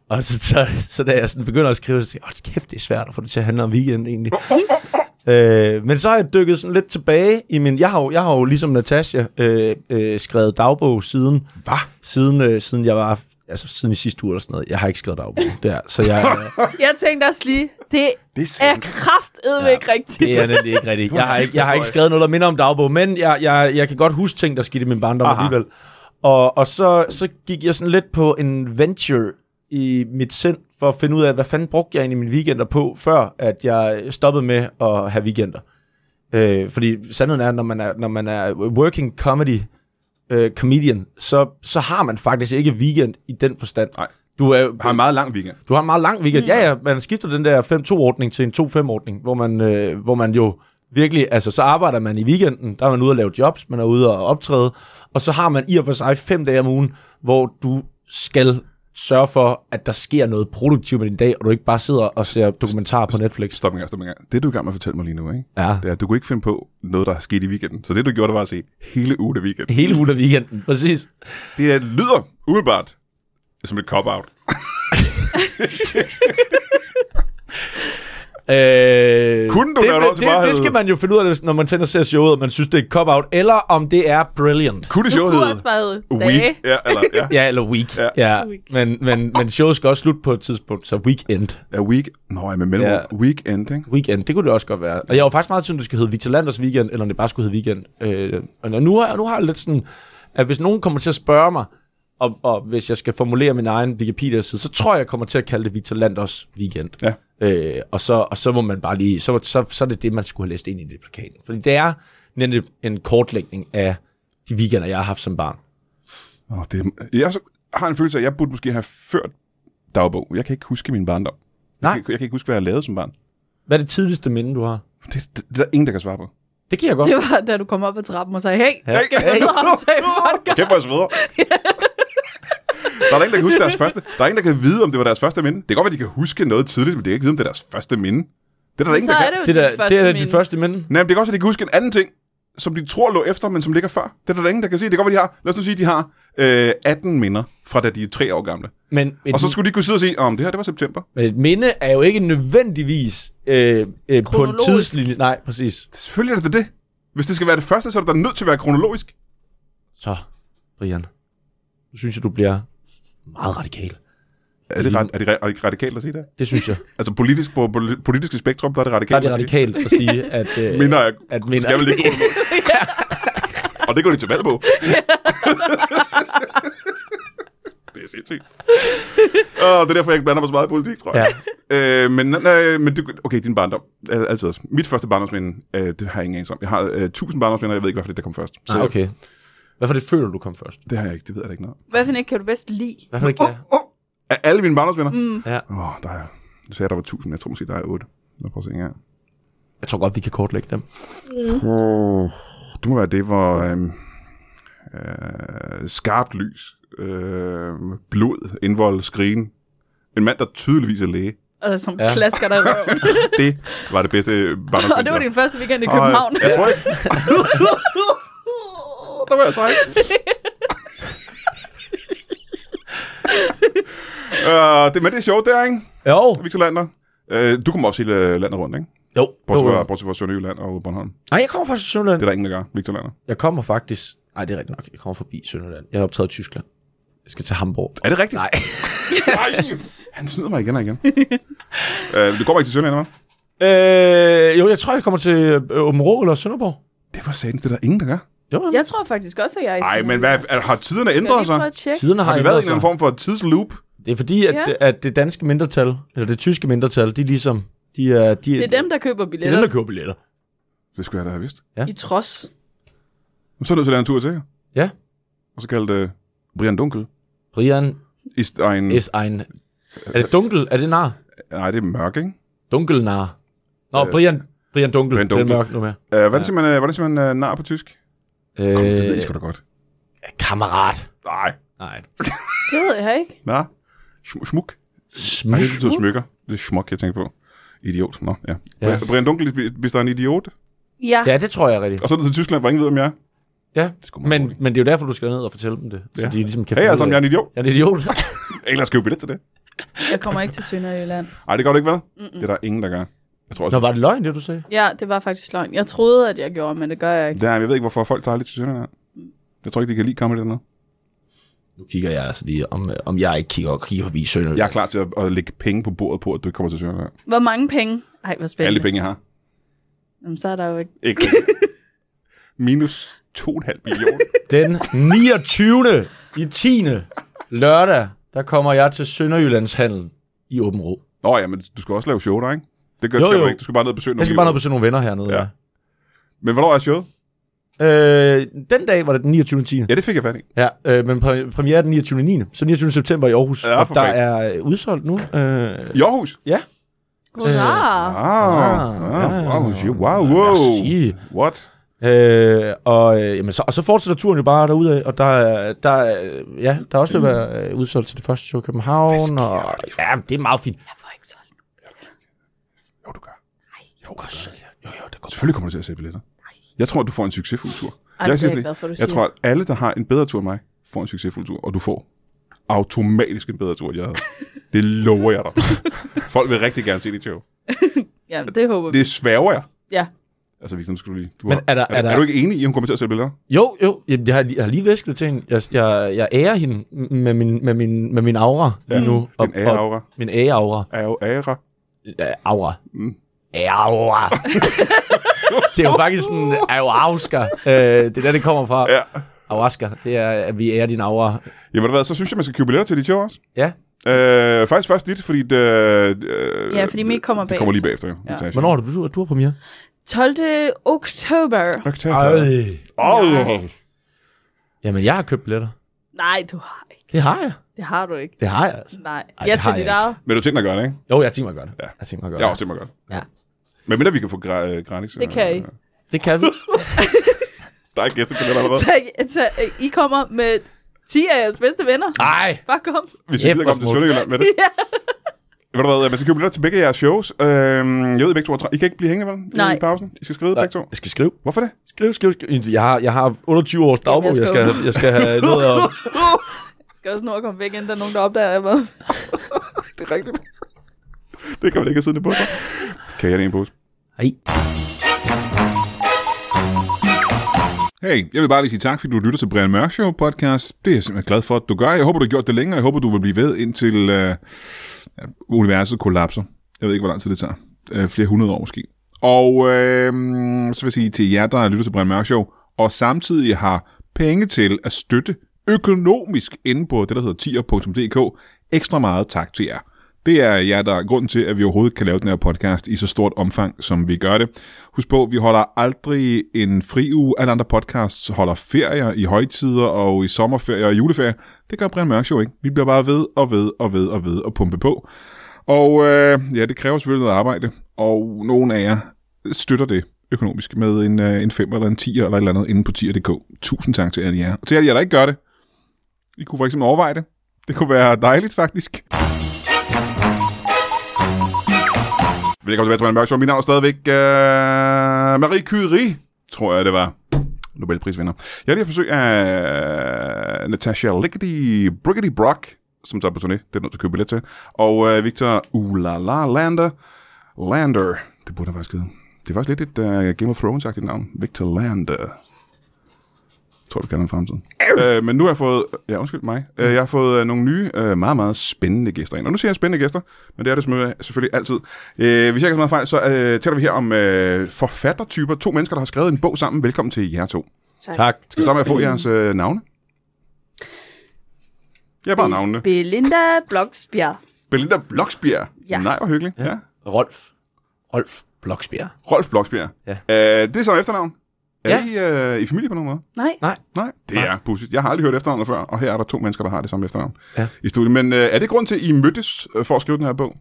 Speaker 2: Og så, så, så da jeg sådan begynder at skrive, så tænkte jeg, "Åh, kæft, det er svært at få det til at handle om weekend egentlig. Øh, men så har jeg dykket sådan lidt tilbage i min... Jeg har jo, jeg har jo ligesom Natasha øh, øh, skrevet dagbog siden... Hvad? Siden, øh, siden jeg var... Altså siden i sidste uge eller sådan noget. Jeg har ikke skrevet dagbog der, så jeg... Øh,
Speaker 3: Jeg tænkte også lige, det
Speaker 1: Det
Speaker 3: er kraftedme ja. ikke rigtigt.
Speaker 2: det er nemlig ikke rigtigt. Jeg har ikke, jeg har ikke skrevet noget, der minder om dagbog, men jeg, jeg, jeg kan godt huske ting, der skete i min barndom
Speaker 1: Aha.
Speaker 2: alligevel. Og, og så, så gik jeg sådan lidt på en venture i mit sind for at finde ud af, hvad fanden brugte jeg egentlig mine weekender på, før at jeg stoppede med at have weekender. Øh, fordi sandheden er, når man er, når man er working comedy øh, comedian, så, så har man faktisk ikke weekend i den forstand.
Speaker 1: Nej.
Speaker 2: Du, er,
Speaker 1: Har en meget lang weekend.
Speaker 2: du har en meget lang weekend. Mm. Ja, ja, man skifter den der 5-2-ordning til en 2-5-ordning, hvor man, øh, hvor man jo virkelig, altså så arbejder man i weekenden, der er man ude at lave jobs, man er ude og optræde, og så har man i og for sig fem dage om ugen, hvor du skal sørge for, at der sker noget produktivt med din dag, og du ikke bare sidder og ser dokumentarer på Netflix.
Speaker 1: Stop en gang, stop en gang. Det, du er i gang med at fortælle mig lige nu, ikke?
Speaker 2: Ja,
Speaker 1: Det er, at du kunne ikke finde på noget, der er sket i weekenden. Så det, du gjorde, det var at se hele ugen af weekenden.
Speaker 2: hele ugen af weekenden, præcis.
Speaker 1: Det er, lyder umiddelbart som et cop-out.
Speaker 2: Øh,
Speaker 1: Kunne du
Speaker 2: det,
Speaker 1: lave noget til
Speaker 2: det,
Speaker 1: bare at-
Speaker 2: det, det skal man jo finde ud af, hvis- når man tænder og ser showet, om man synes, det er et cop-out, eller om det er brilliant.
Speaker 1: Kunne det
Speaker 3: Du
Speaker 1: sjovt
Speaker 3: kunne også bare hedde dage.
Speaker 1: Week, ja, eller, ja.
Speaker 2: Ja, eller week.
Speaker 1: Ja.
Speaker 2: Ja. ja.
Speaker 3: Week.
Speaker 2: Men, men, men showet skal også slutte på et tidspunkt, så weekend.
Speaker 1: ja, week. Nå, ja, med mellemrum.
Speaker 2: Ja.
Speaker 1: Weekend, ikke?
Speaker 2: Weekend, det kunne det også godt være. Og jeg var faktisk meget tvivl, om det skulle hedde Victor Landers Weekend, eller om det bare skulle hedde Weekend. Øh, og nu har, jeg, nu har jeg lidt sådan, at hvis nogen kommer til at spørge mig, og, og hvis jeg skal formulere min egen Wikipedia-side, så tror jeg, jeg kommer til at kalde det Victor Landers Weekend.
Speaker 1: Ja.
Speaker 2: Øh, og, så, og så må man bare lige, så, så, så er det det, man skulle have læst ind i det plakat. Fordi det er nemlig en kortlægning af de weekender, jeg har haft som barn.
Speaker 1: Åh, det er, jeg så- har en følelse af, at jeg burde måske have ført dagbog. Jeg kan ikke huske min barndom.
Speaker 2: Nej.
Speaker 1: Jeg kan, jeg kan ikke huske, hvad jeg lavede som barn.
Speaker 2: Hvad er det tidligste minde, du har?
Speaker 1: Det, det, det er der ingen, der kan svare på.
Speaker 2: Det kan jeg godt.
Speaker 3: Det var, da du kom op ad trappen og sagde, hey,
Speaker 2: Ja.
Speaker 3: jeg skal videre og optage en podcast.
Speaker 1: Kæft, hvor jeg sveder. Der er der ingen, der kan huske deres første. Der er ingen, der kan vide, om det var deres første minde. Det kan godt være, de kan huske noget tidligt, men det kan ikke vide, om det er deres første minde. Det er der, der ingen,
Speaker 3: Så
Speaker 1: der
Speaker 3: er
Speaker 1: kan.
Speaker 3: det jo
Speaker 2: det, der,
Speaker 3: din første
Speaker 2: det er da
Speaker 3: minde.
Speaker 2: dit første minde.
Speaker 1: Nej, men det kan også være, de kan huske en anden ting, som de tror lå efter, men som ligger før. Det er der, der ingen, der kan sige. Det kan godt være, de har, lad os nu sige, de har øh, 18 minder fra da de er 3 år gamle.
Speaker 2: Men et,
Speaker 1: Og så skulle de kunne sidde og sige, om det her, det var september.
Speaker 2: men et minde er jo ikke nødvendigvis øh, øh, på en
Speaker 3: Kronologisk.
Speaker 2: tidslinje. Nej, præcis.
Speaker 1: Selvfølgelig er det det. Hvis det skal være det første, så er det da nødt til at være kronologisk.
Speaker 2: Så, Brian, nu synes jeg, du bliver meget radikal.
Speaker 1: Er det, ret, er det, ra- er det radikalt at sige det?
Speaker 2: Det synes jeg.
Speaker 1: Altså politisk, på poli- politiske spektrum, der er det
Speaker 2: Der er
Speaker 1: radikalt
Speaker 2: det
Speaker 1: at sige.
Speaker 2: radikalt at sige, at... Øh,
Speaker 1: Minder er,
Speaker 2: at minder-
Speaker 1: skal vel ikke kronologisk. Og det går de til valg på. det er sindssygt. Og det er derfor, jeg ikke blander mig så meget i politik, tror jeg.
Speaker 2: Ja.
Speaker 1: Øh, men nej, men du, okay, din barndom. Øh, Altid også. Mit første barndomsminde, øh, det har jeg ingen anelse om. Jeg har øh, 1000 barndomsminder, og jeg ved ikke, hvorfor det der kom først. Så
Speaker 2: Nej, Ah, okay. Hvorfor det føler du kom først?
Speaker 1: Det har jeg ikke, det ved jeg da ikke noget. om.
Speaker 3: Hvad for en kan du bedst lide?
Speaker 2: Hvorfor det ikke
Speaker 1: Åh, oh, oh, er alle mine barndomsminder? Åh, mm.
Speaker 2: Ja.
Speaker 1: oh, der er... Du sagde, at der var 1000. Jeg tror måske, der er 8. Lad prøve at se engang.
Speaker 2: Jeg tror godt, vi kan kortlægge dem.
Speaker 1: Det Øh, må være det, hvor øhm, øh, skarpt lys, øh, blod, indvold, skrigen. En mand, der tydeligvis er læge.
Speaker 3: Og der er sådan
Speaker 2: Ja.
Speaker 3: ja. klasker der i røven.
Speaker 1: Det var det bedste barndomsminder.
Speaker 3: og det var din første weekend i København.
Speaker 1: Jeg tror ikke. der var jeg sej. uh, det, men det er sjovt der, ikke?
Speaker 2: Jo.
Speaker 1: Victor Lander. Uh, du kommer også hele landet rundt, ikke?
Speaker 2: Jo.
Speaker 1: Bortset
Speaker 2: Jo,
Speaker 1: fra,
Speaker 2: jo.
Speaker 1: bortset fra Sønderjylland og Bornholm. Det
Speaker 2: Nej, jeg kommer faktisk fra Sønderland.
Speaker 1: er der ingen, der gør. Victor Lander.
Speaker 2: Jeg kommer faktisk... Nej, det er rigtigt nok. Jeg kommer forbi Sønderland. Jeg har optaget i Tyskland. Jeg skal til Hamburg.
Speaker 1: Er det rigtigt?
Speaker 2: Nej.
Speaker 1: Nej. Han snyder mig igen og igen. uh, du kommer ikke til Sønderjylland, hva'?
Speaker 2: Øh, jo, jeg tror, jeg kommer til øh, Åben Rå eller Sønderborg.
Speaker 1: Det var sandt, det er der ingen, der gør.
Speaker 2: Jo, ja.
Speaker 3: Jeg tror faktisk også, at jeg er i
Speaker 1: Nej, men
Speaker 3: Sønderjylland.
Speaker 1: hvad, er, har tiderne
Speaker 3: Jeg har
Speaker 1: ændret
Speaker 3: lige
Speaker 1: sig?
Speaker 3: prøvet at tjekke.
Speaker 2: Tiderne har,
Speaker 1: Har vi
Speaker 2: ændret
Speaker 1: været i en eller anden form
Speaker 2: sig.
Speaker 1: for tidsloop?
Speaker 2: Det er fordi, at,
Speaker 3: Ja.
Speaker 2: ja. at det danske mindretal, eller det tyske mindretal, de er ligesom... De er, de
Speaker 3: Det er dem, der køber
Speaker 2: det er dem,
Speaker 3: billetter.
Speaker 2: der køber billetter.
Speaker 1: Det skulle jeg da have vidst.
Speaker 3: I trods.
Speaker 1: Men så er du nødt til at lave en tur til jer.
Speaker 2: Ja.
Speaker 1: Og så kaldt uh, Brian Dunkel.
Speaker 2: Brian
Speaker 1: I en,
Speaker 2: S. Ein. Er det dunkel? Er det nar?
Speaker 1: Nej, det er mørk, ikke?
Speaker 2: Dunkel nar. Nå,
Speaker 1: Øh,
Speaker 2: Brian, Brian Dunkel.
Speaker 1: Brian
Speaker 2: Brian dunkel.
Speaker 1: Dunkel.
Speaker 2: Det er mørkt nu med.
Speaker 1: Uh, var det simpelthen, uh, var det simpelthen uh, nar på tysk? Øh, det ved jeg sgu da godt.
Speaker 2: kammerat.
Speaker 1: Nej.
Speaker 2: Nej.
Speaker 3: Det ved jeg ikke.
Speaker 1: Nå. Sm- smuk. Nej, det betyder smykker. Det er smuk, jeg tænker på. Idiot. Nå, ja.
Speaker 2: Ja.
Speaker 1: ja. Brian Dunkel, hvis- hvis der er en idiot.
Speaker 3: Ja.
Speaker 2: Ja, det tror jeg er rigtigt.
Speaker 1: Og så er det til Tyskland, hvor ingen ved, om jeg er.
Speaker 2: Ja.
Speaker 1: Det er sgu meget
Speaker 2: Men,
Speaker 1: dårligt.
Speaker 2: men det er jo derfor, du skal ned og fortælle dem det. Så
Speaker 1: Ja.
Speaker 2: ja. de ligesom kan
Speaker 1: Hey,
Speaker 2: finde
Speaker 1: altså, om
Speaker 2: ud
Speaker 1: jeg
Speaker 2: af-
Speaker 1: er en idiot.
Speaker 2: Jeg er en idiot.
Speaker 1: Eller skrive billet til det.
Speaker 3: Jeg kommer ikke til Sønderjylland.
Speaker 1: Nej, det gør du ikke, vel? Det er der ingen, der gør. Jeg tror også,
Speaker 2: Nå, var det løgn, det du sagde?
Speaker 3: Ja, det var faktisk løgn. Jeg troede, at jeg gjorde, men det gør jeg ikke.
Speaker 1: det er, jeg ved ikke, hvorfor folk tager lidt til Sønderjylland. Jeg tror ikke, de kan lide comedy dernede.
Speaker 2: Nu kigger jeg altså lige, om, om jeg ikke kigger, kigger forbi Sønderjylland.
Speaker 1: Jeg er klar til at, at lægge penge på bordet på, at du ikke kommer til Sønderjylland.
Speaker 3: Hvor mange penge? Ej, hvor spændende.
Speaker 1: Alle de penge, jeg har.
Speaker 3: Jamen, så er der jo ikke...
Speaker 1: Ikke Minus 2,5 millioner.
Speaker 2: Den 29. i 10. lørdag der kommer jeg til Sønderjyllandshandel i Åben Rå.
Speaker 1: Nå ja, men du skal også lave show der, ikke? Det gør,
Speaker 2: Jo,
Speaker 1: jo, skal
Speaker 2: jo.
Speaker 1: jo. ikke. Du skal bare ned og besøge nogle
Speaker 2: Jeg skal bare ned og besøge nogle venner hernede.
Speaker 1: Ja.
Speaker 2: Ja.
Speaker 1: lille- Men hvornår er showet?
Speaker 2: Øh, den dag var det den 29. 10.
Speaker 1: Ja, det fik jeg fat i.
Speaker 2: Ja, øh, men pre- premiere er den 29. 9. Så 29. september i Aarhus.
Speaker 1: Ja,
Speaker 2: og
Speaker 1: for
Speaker 2: der
Speaker 1: fanden.
Speaker 2: er øh, udsolgt nu. Øh,
Speaker 1: I Aarhus?
Speaker 2: ja. Ah.
Speaker 3: Hurra!
Speaker 1: Wow. Wow.
Speaker 2: ja.
Speaker 1: ah, Wow. shit, Wow. Wow.
Speaker 2: Merci.
Speaker 1: What?
Speaker 2: Øh, og, øh, jamen, så, og så fortsætter turen jo bare derudad, og der, er- der, er- ja, der er også ved at være øh, udsolgt til det første show i København. Og, ja, det er meget fint.
Speaker 3: Jeg får ikke solgt.
Speaker 1: Jo, du gør.
Speaker 2: Jo, godt selv, ja. jo, jo, det går.
Speaker 1: Selvfølgelig kommer du til at sælge billetter. Jeg tror, at du får en succesfuld tur.
Speaker 3: Ej, det er
Speaker 1: siger
Speaker 3: jeg
Speaker 1: sådan,
Speaker 3: glad for, du
Speaker 1: jeg
Speaker 3: siger.
Speaker 1: tror, at alle, der har en bedre tur end mig, får en succesfuld tur, og du får automatisk en bedre tur, end jeg havde. Det lover jeg dig. Folk vil rigtig gerne se dit show.
Speaker 3: Ja, det håber vi.
Speaker 1: Det sværger jeg.
Speaker 3: Ja.
Speaker 1: Altså, Victor, nu skal du lige... Du
Speaker 2: Men
Speaker 1: har-
Speaker 2: er der-
Speaker 1: er,
Speaker 2: er der-
Speaker 1: er, du ikke enig i, at hun kommer til at sælge billetter?
Speaker 2: Jo, jo, jamen, jeg har, lige- jeg har lige væsket til hende. Jeg, jeg, jeg ærer hende med min, med min, med min aura lige nu. Og,
Speaker 1: Din ære-aura.
Speaker 2: og, min ære-aura.
Speaker 1: Ære-aura.
Speaker 2: Øh, aura.
Speaker 1: Mm.
Speaker 2: Aura. det er jo faktisk sådan, ayahuasca. Øh, det er der, det kommer fra.
Speaker 1: Ja.
Speaker 2: Ayahuasca, det er, at vi ærer din aura.
Speaker 1: Jamen, ved du hvad, så synes jeg, man skal købe billetter til dit show også.
Speaker 2: Ja,
Speaker 1: Øh, faktisk først dit, fordi... Det, øh,
Speaker 3: Ja, fordi mit kommer
Speaker 1: Det kommer lige bagefter, jo. Ja.
Speaker 2: hvornår har du, du, du har premiere?
Speaker 3: 12. oktober.
Speaker 1: Oktober. Åh,
Speaker 2: Jamen, jeg har købt billetter.
Speaker 3: Nej, du har ikke.
Speaker 2: Det har jeg.
Speaker 3: Det har du ikke.
Speaker 2: Det har jeg. altså.
Speaker 3: Nej.
Speaker 2: Ej,
Speaker 3: jeg
Speaker 2: det har
Speaker 3: til dit
Speaker 2: jeg
Speaker 3: eget.
Speaker 1: Men du tænker at gøre det, ikke?
Speaker 2: Jo, jeg tænker mig godt.
Speaker 1: Ja.
Speaker 2: Jeg tænker mig godt.
Speaker 1: Jeg har også tænkt mig godt.
Speaker 3: Ja.
Speaker 1: Men mindre vi kan få gra- øh, gratis.
Speaker 3: Det kan I.
Speaker 2: Det kan vi.
Speaker 1: Der er gæstebilletter allerede.
Speaker 3: Tak, tak. I kommer med 10 af jeres bedste venner.
Speaker 2: Nej.
Speaker 3: Bare kom.
Speaker 1: Hvis vi gider
Speaker 2: Kæft, hvor
Speaker 1: komme til
Speaker 2: smukt.
Speaker 1: Sønderjylland med det. Ved du hvad, øh, man skal købe billetter til begge jeres shows. Øhm, jeg ved, I begge to er travlt. I kan ikke blive hængende, vel? I
Speaker 3: Nej.
Speaker 1: I pausen. I skal skrive begge to.
Speaker 2: Jeg skal skrive.
Speaker 1: Hvorfor det?
Speaker 2: Skriv, skriv, skriv. Jeg har, jeg har 28 års dagbog,
Speaker 3: Jamen,
Speaker 2: jeg
Speaker 3: jeg
Speaker 2: skal,
Speaker 3: skal
Speaker 2: jeg skal have noget at...
Speaker 3: Jeg skal også nå at komme væk, inden der er nogen, der opdager, at jeg var.
Speaker 1: Det er rigtigt. det kan man ikke have siddende på sig. Kan jeg det en pose?
Speaker 2: Hej.
Speaker 1: Hey, jeg vil bare lige sige tak, fordi du lytter til Brian Mørk Show podcast. Det er jeg simpelthen glad for, at du gør. Jeg håber, du har gjort det længere. Jeg håber, du vil blive ved, indtil øh, ja, universet kollapser. Jeg ved ikke, hvor lang tid det tager. Øh, flere hundrede år måske. Og øh, så vil jeg sige til jer, der lytter til Brian Mørk Show, og samtidig har penge til at støtte økonomisk inde på det, der hedder tier.dk. Ekstra meget tak til jer. Det er jer, der er grunden til, at vi overhovedet kan lave den her podcast i så stort omfang, som vi gør det. Husk på, vi holder aldrig en fri uge. Alle andre podcasts holder ferier i højtider og i sommerferier og juleferier. Det gør Brian Mørk Show ikke. Vi bliver bare ved og ved og ved og ved og pumpe på. Og øh, ja, det kræver selvfølgelig noget arbejde, og nogen af jer støtter det økonomisk med en, øh, en 5 eller en 10 eller et eller andet inde på 10.dk. Tusind tak til alle jer. Og til alle jer, der ikke gør det, I kunne for eksempel overveje det. Det kunne være dejligt, faktisk. Velkommen tilbage til Brian Mørk Show. Mit navn er stadigvæk øh, Marie Curie, tror jeg det var. Nobelprisvinder. Jeg har lige haft besøg af øh, Natasha Ligety Briggety Brock, som tager på turné. Det er du nødt til at købe billet til. Og øh, Victor Ulala Lander. Lander. Det burde han faktisk hedde. Det er faktisk lidt et uh, Game of Thrones-agtigt navn. Victor Lander. Jeg tror, du kan den i fremtiden. Øh, men nu har jeg fået... Ja, undskyld mig. Øh, jeg har fået øh, nogle nye, øh, meget, meget spændende gæster ind. Og nu siger jeg spændende gæster, men det er det selvfølgelig- selvfølgelig altid. Øh, hvis jeg ikke har så meget fejl, så øh, taler vi her om øh, forfattertyper. To mennesker, der har skrevet en bog sammen. Velkommen til jer to.
Speaker 2: Tak.
Speaker 1: Skal vi starte med at få jeres øh, navne? Ja, bare navnene.
Speaker 3: Belinda Bloksbjerg.
Speaker 1: Belinda Bloksbjerg.
Speaker 3: Ja.
Speaker 1: Nej, hvor hyggeligt. Ja.
Speaker 2: Rolf. Rolf Bloksbjerg.
Speaker 1: Rolf Bloksbjerg.
Speaker 2: Ja.
Speaker 1: Øh, det er så efternavn. Er
Speaker 2: Ja.
Speaker 1: I øh, i familie på nogen måde?
Speaker 3: Nej.
Speaker 2: Nej.
Speaker 1: Nej, det
Speaker 2: Nej.
Speaker 1: er pudsigt. Jeg har aldrig hørt efternavnet før, og her er der to mennesker, der har det samme efternavn
Speaker 2: Ja.
Speaker 1: i studiet. Men øh, er det grund til, at I mødtes øh, for at skrive den her bog?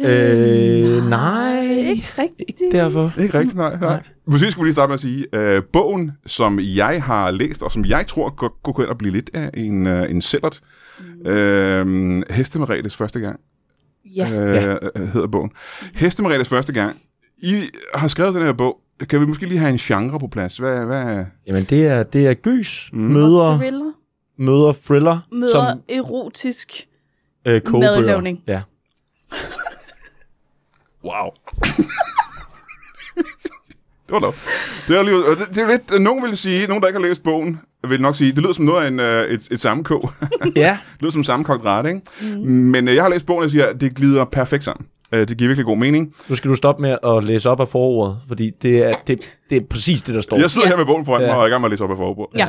Speaker 2: Øh, nej.
Speaker 3: Ikke rigtigt.
Speaker 2: Ikke derfor.
Speaker 1: Ikke rigtigt, nej. nej.
Speaker 2: Nej.
Speaker 1: Måske skulle vi lige starte med at sige, øh, bogen, som jeg har læst, og som jeg tror godt kunne gå ind og blive lidt af en, øh, en sællert, øh, Hestemaretes første gang,
Speaker 3: Ja.
Speaker 2: Ja.
Speaker 1: øh, øh, hedder bogen. Hestemaretes første gang. I har skrevet den her bog. Kan vi måske lige have en genre på plads? Hvad, hvad?
Speaker 2: Jamen, det er, det er gys, mm. møder,
Speaker 3: Thriller.
Speaker 2: møder thriller,
Speaker 3: Møder
Speaker 2: som
Speaker 3: erotisk.
Speaker 2: øh, kogebøger.
Speaker 3: madlavning.
Speaker 2: Ja.
Speaker 1: Wow. det var lov. Det er, alligevel- det, det er lidt, øh, nogen vil sige, nogen der ikke har læst bogen, vil nok sige, det lyder som noget af en, øh, et, et sammenkog.
Speaker 2: ja.
Speaker 1: Det lyder som sammenkogt ret, ikke? Mm. Men øh, jeg har læst bogen, og jeg siger, at det glider perfekt sammen. Øh, det giver virkelig god mening.
Speaker 2: Nu skal du stoppe med at læse op af forordet, fordi det er, det, det er præcis det, der står.
Speaker 1: Jeg sidder her med bogen foran mig,
Speaker 2: Ja.
Speaker 1: og er i gang med at læse op af forbrug.
Speaker 3: Ja.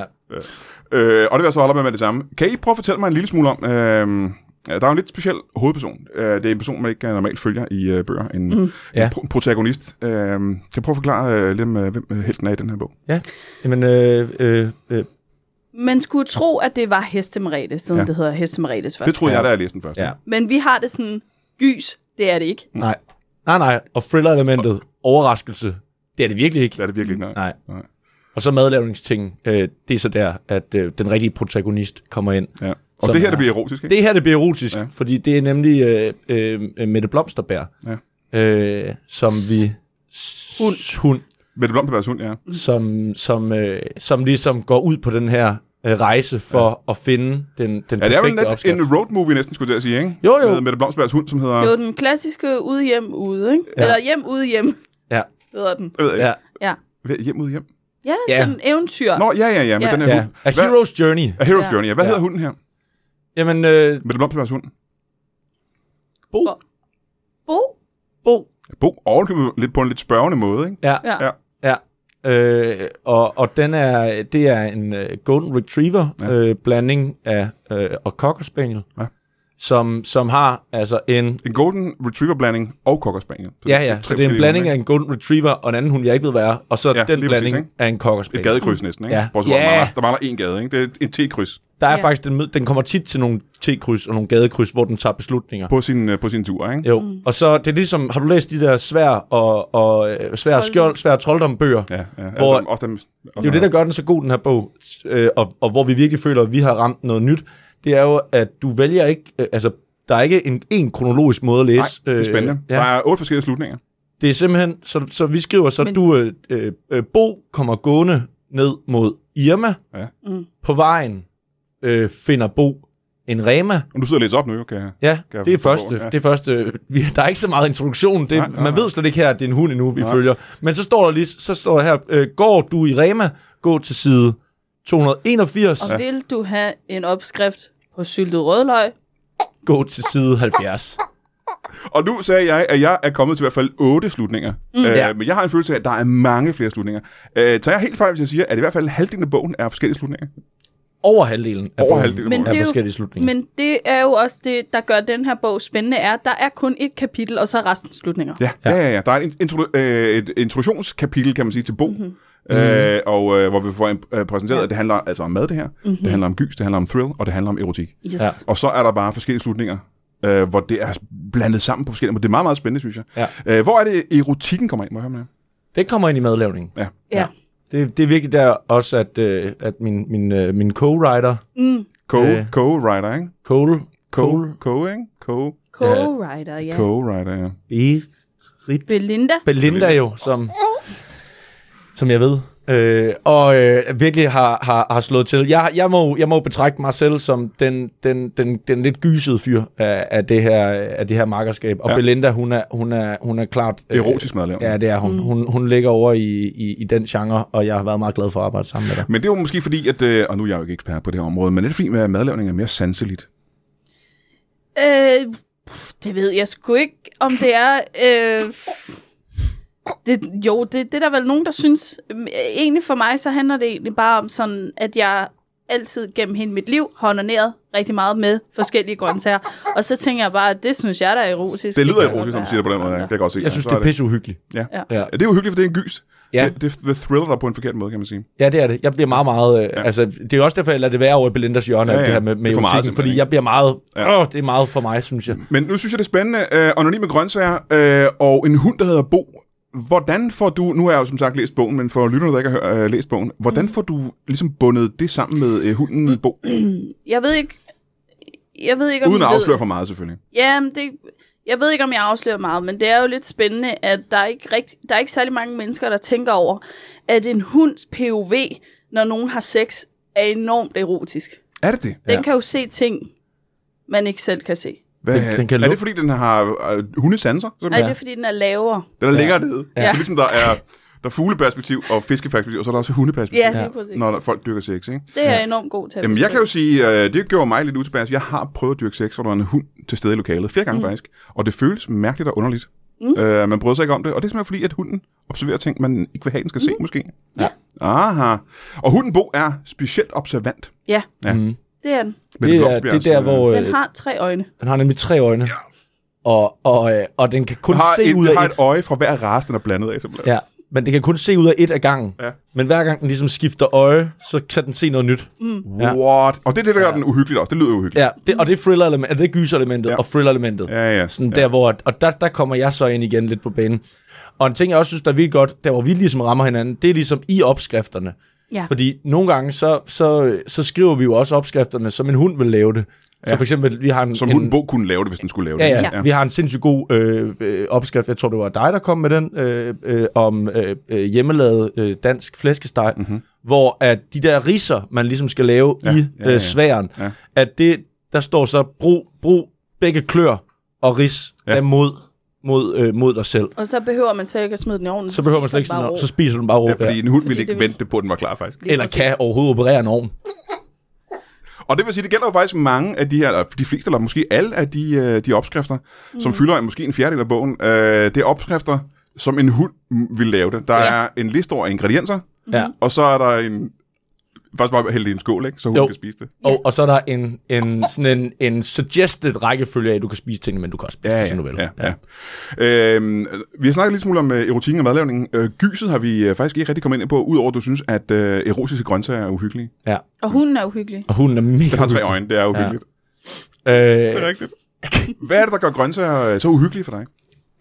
Speaker 1: Øh, og det vil jeg så holde op med med det samme. Kan I prøve at fortælle mig en lille smule om... Øh, der er jo en lidt speciel hovedperson. Øh, det er en person, man ikke øh, normalt følger i øh, bøger. En, mm. en
Speaker 2: Ja.
Speaker 1: pro- protagonist. Øh, kan jeg prøve at forklare øh, lidt om, øh, hvem øh, helten er i den her bog?
Speaker 2: Ja. Jamen, øh, øh, øh,
Speaker 3: Man skulle tro, at det var Hestemrete, siden
Speaker 1: Ja.
Speaker 3: ja. det hedder Hestemretes
Speaker 1: Det
Speaker 3: først.
Speaker 1: troede jeg, da jeg læste den første.
Speaker 2: ja.
Speaker 3: Men vi har det sådan, gys, det er det ikke.
Speaker 2: Nej. Nej, nej. Og thriller-elementet, overraskelse, det er det virkelig ikke.
Speaker 1: Det er det virkelig ikke. Nej.
Speaker 2: Nej.
Speaker 1: Nej.
Speaker 2: Og så madlavningsting, øh, det er så der, at øh, den rigtige protagonist kommer ind.
Speaker 1: Ja. Og
Speaker 2: Som
Speaker 1: det her,
Speaker 2: er-
Speaker 1: det bliver erotisk, ikke?
Speaker 2: Det her, det bliver erotisk,
Speaker 1: Ja.
Speaker 2: ja. fordi det er nemlig øh, øh, Mette Blomsterbær, ja. øh, som vi... Hund. Hund
Speaker 1: Med det blomte hund,
Speaker 2: Mm.
Speaker 1: ja.
Speaker 2: som, som, øh, som ligesom går ud på den her øh, rejse for ja. at finde den, den
Speaker 1: Ja, det er vel
Speaker 2: perfekte
Speaker 1: lidt
Speaker 2: opskrift.
Speaker 1: en road movie næsten, skulle jeg til at sige, ikke?
Speaker 2: Jo, jo.
Speaker 1: Med, med det Blomsbergs hund, som hedder...
Speaker 3: Det var den klassiske ude hjem ude, ikke? Ja. Eller hjem ude hjem,
Speaker 2: Ja,
Speaker 3: hedder den.
Speaker 1: Jeg ved ikke.
Speaker 2: ja,
Speaker 3: Ja,
Speaker 1: Hvad- Hjem ud hjem.
Speaker 3: ja,
Speaker 2: Ja.
Speaker 3: sådan en eventyr.
Speaker 1: Nå, ja, ja, ja, med
Speaker 3: Ja.
Speaker 1: den her
Speaker 2: ja.
Speaker 1: hund.
Speaker 2: A
Speaker 1: Hvad-
Speaker 2: Hero's Journey.
Speaker 1: A Hero's
Speaker 3: Ja.
Speaker 1: Journey, ja. Hvad
Speaker 2: Ja.
Speaker 1: hedder hunden her?
Speaker 2: Jamen, øh,
Speaker 1: Med det Blomsbergs hund.
Speaker 2: Bo.
Speaker 3: Bo. Bo?
Speaker 2: Bo.
Speaker 1: Bo, ovenkøbet lidt på en lidt spørgende måde, ikke?
Speaker 2: Ja,
Speaker 3: Ja.
Speaker 1: Ja.
Speaker 3: ja.
Speaker 2: ja. Øh, og, og den er, det er en øh, Golden Retriever
Speaker 1: Ja.
Speaker 2: ja. øh, blanding af øh, og Cocker Spaniel,
Speaker 1: Ja.
Speaker 2: ja. som, som har altså en
Speaker 1: En golden retriever blanding og cocker spaniel. Så
Speaker 2: Ja,
Speaker 1: tre
Speaker 2: ja, så det er en
Speaker 1: forskellige
Speaker 2: blanding
Speaker 1: hunde,
Speaker 2: af en Golden Retriever og en anden hund, jeg ikke ved, hvad er, og så
Speaker 1: Ja,
Speaker 2: ja, den
Speaker 1: lige præcis,
Speaker 2: blanding
Speaker 1: ikke?
Speaker 2: præcis, af en Cocker
Speaker 1: ikke? Et
Speaker 2: Spaniel.
Speaker 1: gadekryds næsten, ikke?
Speaker 2: Ja.
Speaker 1: Bortset fra,
Speaker 2: Ja.
Speaker 1: der mangler- der mangler en gade, ikke? Det er et T-kryds
Speaker 2: Der er
Speaker 3: Ja.
Speaker 2: ja. faktisk, den, mød- den kommer tit til nogle T-kryds og nogle gadekryds, hvor den tager beslutninger.
Speaker 1: på sin, øh, på sin tur, ikke?
Speaker 2: Jo, mm. og så det er ligesom, har du læst de der svær og, og øh, svær og skjold, svær og trolddombøger?
Speaker 1: Ja, ja.
Speaker 2: Hvor-
Speaker 1: altså, ofte,
Speaker 2: Det er jo det, der gør den så god, den her bog, øh, og, og hvor vi virkelig føler, at vi har ramt noget nyt, det er jo, at du vælger ikke, øh, altså, der er ikke en, en kronologisk måde at læse.
Speaker 1: Nej, det er spændende.
Speaker 2: Øh,
Speaker 1: Der
Speaker 2: ja.
Speaker 1: er otte forskellige slutninger.
Speaker 2: Det er simpelthen, så, så vi skriver så,
Speaker 3: Men-
Speaker 2: Men... du, øh, øh, øh, Bo kommer gående ned mod Irma.
Speaker 1: Ja.
Speaker 3: Mm.
Speaker 2: På vejen øh, finder Bo en Rema,
Speaker 1: Og du sidder og læser op nu, jo, kan jeg?
Speaker 2: Ja,
Speaker 1: Kan jeg
Speaker 2: det er
Speaker 1: forstå,
Speaker 2: første.
Speaker 1: ja.
Speaker 2: Ja. Det er første. Vi, der er ikke så meget introduktion. Det,
Speaker 1: Nej,
Speaker 2: nej,
Speaker 1: nej,
Speaker 2: nej, man
Speaker 1: nej.
Speaker 2: ved slet ikke her, at det er en hund endnu, vi
Speaker 1: Nej.
Speaker 2: nej. følger. Men så står der lige, så står der her, øh, går du i Rema, gå til side 281,
Speaker 3: Og
Speaker 2: ja.
Speaker 3: vil du have en opskrift på syltet rødløg?
Speaker 2: gå til side 70.
Speaker 1: Og nu sagde jeg, at jeg er kommet til i hvert fald otte slutninger. Mm, øh,
Speaker 2: Ja.
Speaker 1: Men jeg har en følelse af, at der er mange flere slutninger. Øh, tager jeg helt fejl, hvis jeg siger, at i hvert fald halvdelen af bogen er forskellige slutninger?
Speaker 2: Over halvdelen af
Speaker 1: Over
Speaker 2: bogen
Speaker 1: halvdelen af
Speaker 2: er
Speaker 1: bogen.
Speaker 3: Men det er jo-
Speaker 2: forskellige slutninger. Men...
Speaker 3: Men det er jo også det, der gør den her bog spændende, er, at der er kun et kapitel, og så er resten slutninger.
Speaker 1: Ja, ja, ja. ja. Der er et, intro, øh, et introduktionskapitel, kan man sige, til Bo. Mm-hmm. Øh, og øh, hvor vi får øh, præsenteret, ja. at det handler altså om mad, det her. Mm-hmm. Det handler om gys, det handler om thrill, og det handler om erotik.
Speaker 3: Yes.
Speaker 2: Ja.
Speaker 1: Og så er der bare forskellige slutninger, øh, hvor det er blandet sammen på forskellige måder. Det er meget, meget spændende, synes jeg.
Speaker 2: Ja.
Speaker 1: Øh, hvor er det, erotikken kommer ind? Må jeg høre med jer?
Speaker 2: Det kommer ind i madlavningen.
Speaker 1: Ja.
Speaker 3: ja.
Speaker 2: Det, det er virkelig der også, at, øh, at min, min, øh, min co-writer,
Speaker 1: Co-
Speaker 2: Øh.
Speaker 1: Co-writer, ikke?
Speaker 2: Cole,
Speaker 1: Co,
Speaker 2: Cole,
Speaker 1: co, ikke? Co,
Speaker 3: Co-writer, ja.
Speaker 1: co-writer, ja.
Speaker 2: Berit,
Speaker 3: Belinda.
Speaker 2: Belinda jo, som, som jeg ved. Øh, og øh, virkelig har, har, har slået til. Jeg, jeg, må, jeg må betragte mig selv som den, den, den, den lidt gysede fyr af, af, det, her, af det her markerskab. Og
Speaker 1: Ja.
Speaker 2: ja. Belinda, hun er, hun er, hun er klart... øh,
Speaker 1: Erotisk madlavning.
Speaker 2: Ja, det er hun. Mm. Hun, hun ligger over i, i, i den genre, og jeg har været meget glad for at arbejde sammen med dig.
Speaker 1: Men det er jo måske fordi, at, øh, og nu er jeg jo ikke ekspert på det her område, men det er fint med, at madlavning er mere sanseligt.
Speaker 3: Øh, pff, det ved jeg sgu ikke, om det er... Øh, det, jo, det, det er der vel nogen, der synes... Øhm, Egentlig for mig, så handler det egentlig bare om sådan, at jeg altid gennem hele mit liv har onaneret rigtig meget med forskellige grøntsager. Og så tænker jeg bare, at det synes jeg, der er erotisk.
Speaker 1: Det lyder
Speaker 3: kan godt
Speaker 1: erotisk, som du
Speaker 3: være.
Speaker 1: siger det på den måde. ja. Det kan jeg godt se.
Speaker 2: Jeg synes,
Speaker 1: så
Speaker 2: det er pisseuhyggeligt.
Speaker 1: Ja.
Speaker 3: Ja.
Speaker 2: Ja.
Speaker 1: Ja, det er jo hyggeligt, for det er en gys.
Speaker 2: Ja.
Speaker 1: Det, det, det thriller dig på en forkert måde, kan man sige.
Speaker 2: Ja, det er det. Jeg bliver meget, meget... Øh, ja. Altså, det er jo også derfor, jeg lader det være over i Belindas hjørne,
Speaker 1: Ja,
Speaker 2: ja, ja. det
Speaker 1: ja.
Speaker 2: her med, med
Speaker 1: Det er for meget,
Speaker 2: erotikken,
Speaker 1: simpelthen,
Speaker 2: fordi
Speaker 1: ikke?
Speaker 2: jeg bliver meget...
Speaker 1: Ja.
Speaker 2: Ja. Åh, det er meget for mig, synes jeg.
Speaker 1: Men nu synes jeg, det er spændende. Øh, anonyme grøntsager øh, og en hund, der hedder Bo. Hvordan får du, nu har jeg jo som sagt læst bogen, men for lytterne, der ikke har øh, læst bogen,
Speaker 3: Mm.
Speaker 1: hvordan får du ligesom bundet det sammen med øh, hunden Bo?
Speaker 3: Jeg ved ikke... Jeg ved ikke, om
Speaker 1: Uden at
Speaker 3: I ved-
Speaker 1: afsløre for meget, selvfølgelig.
Speaker 3: Ja, men det, jeg ved ikke, om jeg afslører meget, men det er jo lidt spændende, at der er ikke, rigt, der er ikke særlig mange mennesker, der tænker over, at en hunds POV, når nogen har sex, er enormt erotisk.
Speaker 1: Er det det?
Speaker 3: Den
Speaker 2: Ja.
Speaker 3: kan jo se ting, man ikke selv kan se.
Speaker 1: Hvad,
Speaker 2: Den- den kan
Speaker 1: er det
Speaker 2: lugte.
Speaker 1: fordi, den har øh, hundesanser?
Speaker 3: Nej,
Speaker 1: simpelthen?
Speaker 3: det er fordi, den er lavere.
Speaker 1: Den er længere nede. Ja.
Speaker 3: Ja.
Speaker 1: Så ligesom der er... Der er fugleperspektiv og fiskeperspektiv, og så er der også hundeperspektiv.
Speaker 3: Ja, lige præcis.
Speaker 1: Når der, folk dyrker sex, ikke?
Speaker 3: Det er jeg enormt god til. at
Speaker 1: Jamen, jeg
Speaker 3: beskrive.
Speaker 1: kan jo sige, øh, det gjorde mig lidt utilpas. Jeg har prøvet at dyrke sex, hvor der var en hund til stede i lokalet. Flere gange mm. faktisk. Og det føles mærkeligt og underligt. Mm. Øh, man bryder sig ikke om det. Og det er simpelthen fordi, at hunden observerer ting, man ikke vil have, den skal mm. se, måske.
Speaker 2: Ja.
Speaker 1: Aha. Og hunden Bo er specielt observant.
Speaker 3: Ja,
Speaker 1: Ja. Mm.
Speaker 3: det er den.
Speaker 2: Det er, det er der, hvor
Speaker 3: Den
Speaker 2: øh,
Speaker 3: har tre øjne.
Speaker 2: den har nemlig tre øjne. Og, og, øh, og den kan kun
Speaker 1: har
Speaker 2: se
Speaker 1: et,
Speaker 2: ud af
Speaker 1: har
Speaker 2: et.
Speaker 1: et øje fra hver race, den er blandet af. Simpelthen. Ja.
Speaker 2: Ja, men det kan kun se ud af et af gangen.
Speaker 1: Ja.
Speaker 2: Men hver gang den ligesom skifter øje, så kan den se noget nyt. Mm. Ja.
Speaker 1: What? Og det er det, der gør den uhyggeligt også. Det lyder uhyggeligt.
Speaker 2: Ja, det, og det er thriller-elementet, det er gyser-elementet
Speaker 1: Ja.
Speaker 2: ja. og thriller-elementet.
Speaker 1: Ja, ja.
Speaker 2: Sådan der, hvor, og der, der kommer jeg så ind igen lidt på banen. Og en ting, jeg også synes, der er virkelig godt, der hvor vi ligesom rammer hinanden, det er ligesom i opskrifterne.
Speaker 3: Ja.
Speaker 2: Fordi nogle gange, så, så, så skriver vi jo også opskrifterne, som en hund vil lave det. Ja. Så for eksempel, vi har en...
Speaker 1: Som
Speaker 2: en,
Speaker 1: hunden Bo kunne lave det, hvis den skulle lave
Speaker 2: Ja,
Speaker 1: det.
Speaker 2: ja, ja. Vi har en sindssygt god øh, øh, opskrift. Jeg tror, det var dig, der kom med den, øh, øh, om øh, øh, hjemmelavet øh, dansk flæskesteg, mm-hmm. hvor at de der riser, man ligesom skal lave ja, i
Speaker 1: Mhm. ja,
Speaker 2: ja,
Speaker 1: ja.
Speaker 2: øh, sværen,
Speaker 1: Ja.
Speaker 2: ja. at det, der står så, brug, brug begge klør og ris
Speaker 1: Ja.
Speaker 2: ja. er mod, mod, øh, mod dig selv.
Speaker 3: Og så behøver man så ikke at smide den i ovnen.
Speaker 2: Så behøver man slet ikke sådan noget, så spiser du den bare rå.
Speaker 1: Ja, fordi
Speaker 2: Ja,
Speaker 1: en hund ville
Speaker 3: Fordi
Speaker 1: ikke
Speaker 3: det vil-
Speaker 1: vente på, at den var klar, faktisk.
Speaker 2: eller kan overhovedet operere en ovn.
Speaker 1: Og det vil sige, det gælder jo faktisk mange af de her, eller de fleste, eller måske alle af de, øh, de opskrifter, mm. som fylder måske en fjerdedel af bogen. Øh, det er opskrifter, som en hund mm, vil lave det. Der ja.
Speaker 2: Ja.
Speaker 1: er en liste over ingredienser,
Speaker 2: Ja.
Speaker 1: og så er der en... Faktisk bare hælde det i en skål, ikke? så hun
Speaker 2: Jo.
Speaker 1: kan spise det.
Speaker 2: Og, og så er der en, en, sådan en, en suggested rækkefølge af, at du kan spise tingene, men du kan også spise ja, som du vil.
Speaker 1: ja, ja. Øhm, vi har snakket lidt smule om øh, erotikken og madlavningen. Øh, gyset har vi øh, faktisk ikke rigtig kommet ind på, udover at du synes, at øh, erotiske grøntsager er uhyggelige.
Speaker 2: ja.
Speaker 3: Og hunden er uhyggelig.
Speaker 2: Og hunden er mega
Speaker 1: Den har tre øjne, det er uhyggeligt. Ja.
Speaker 2: Øh,
Speaker 1: Det er rigtigt. Hvad er det, der gør grøntsager øh, så uhyggelige for dig?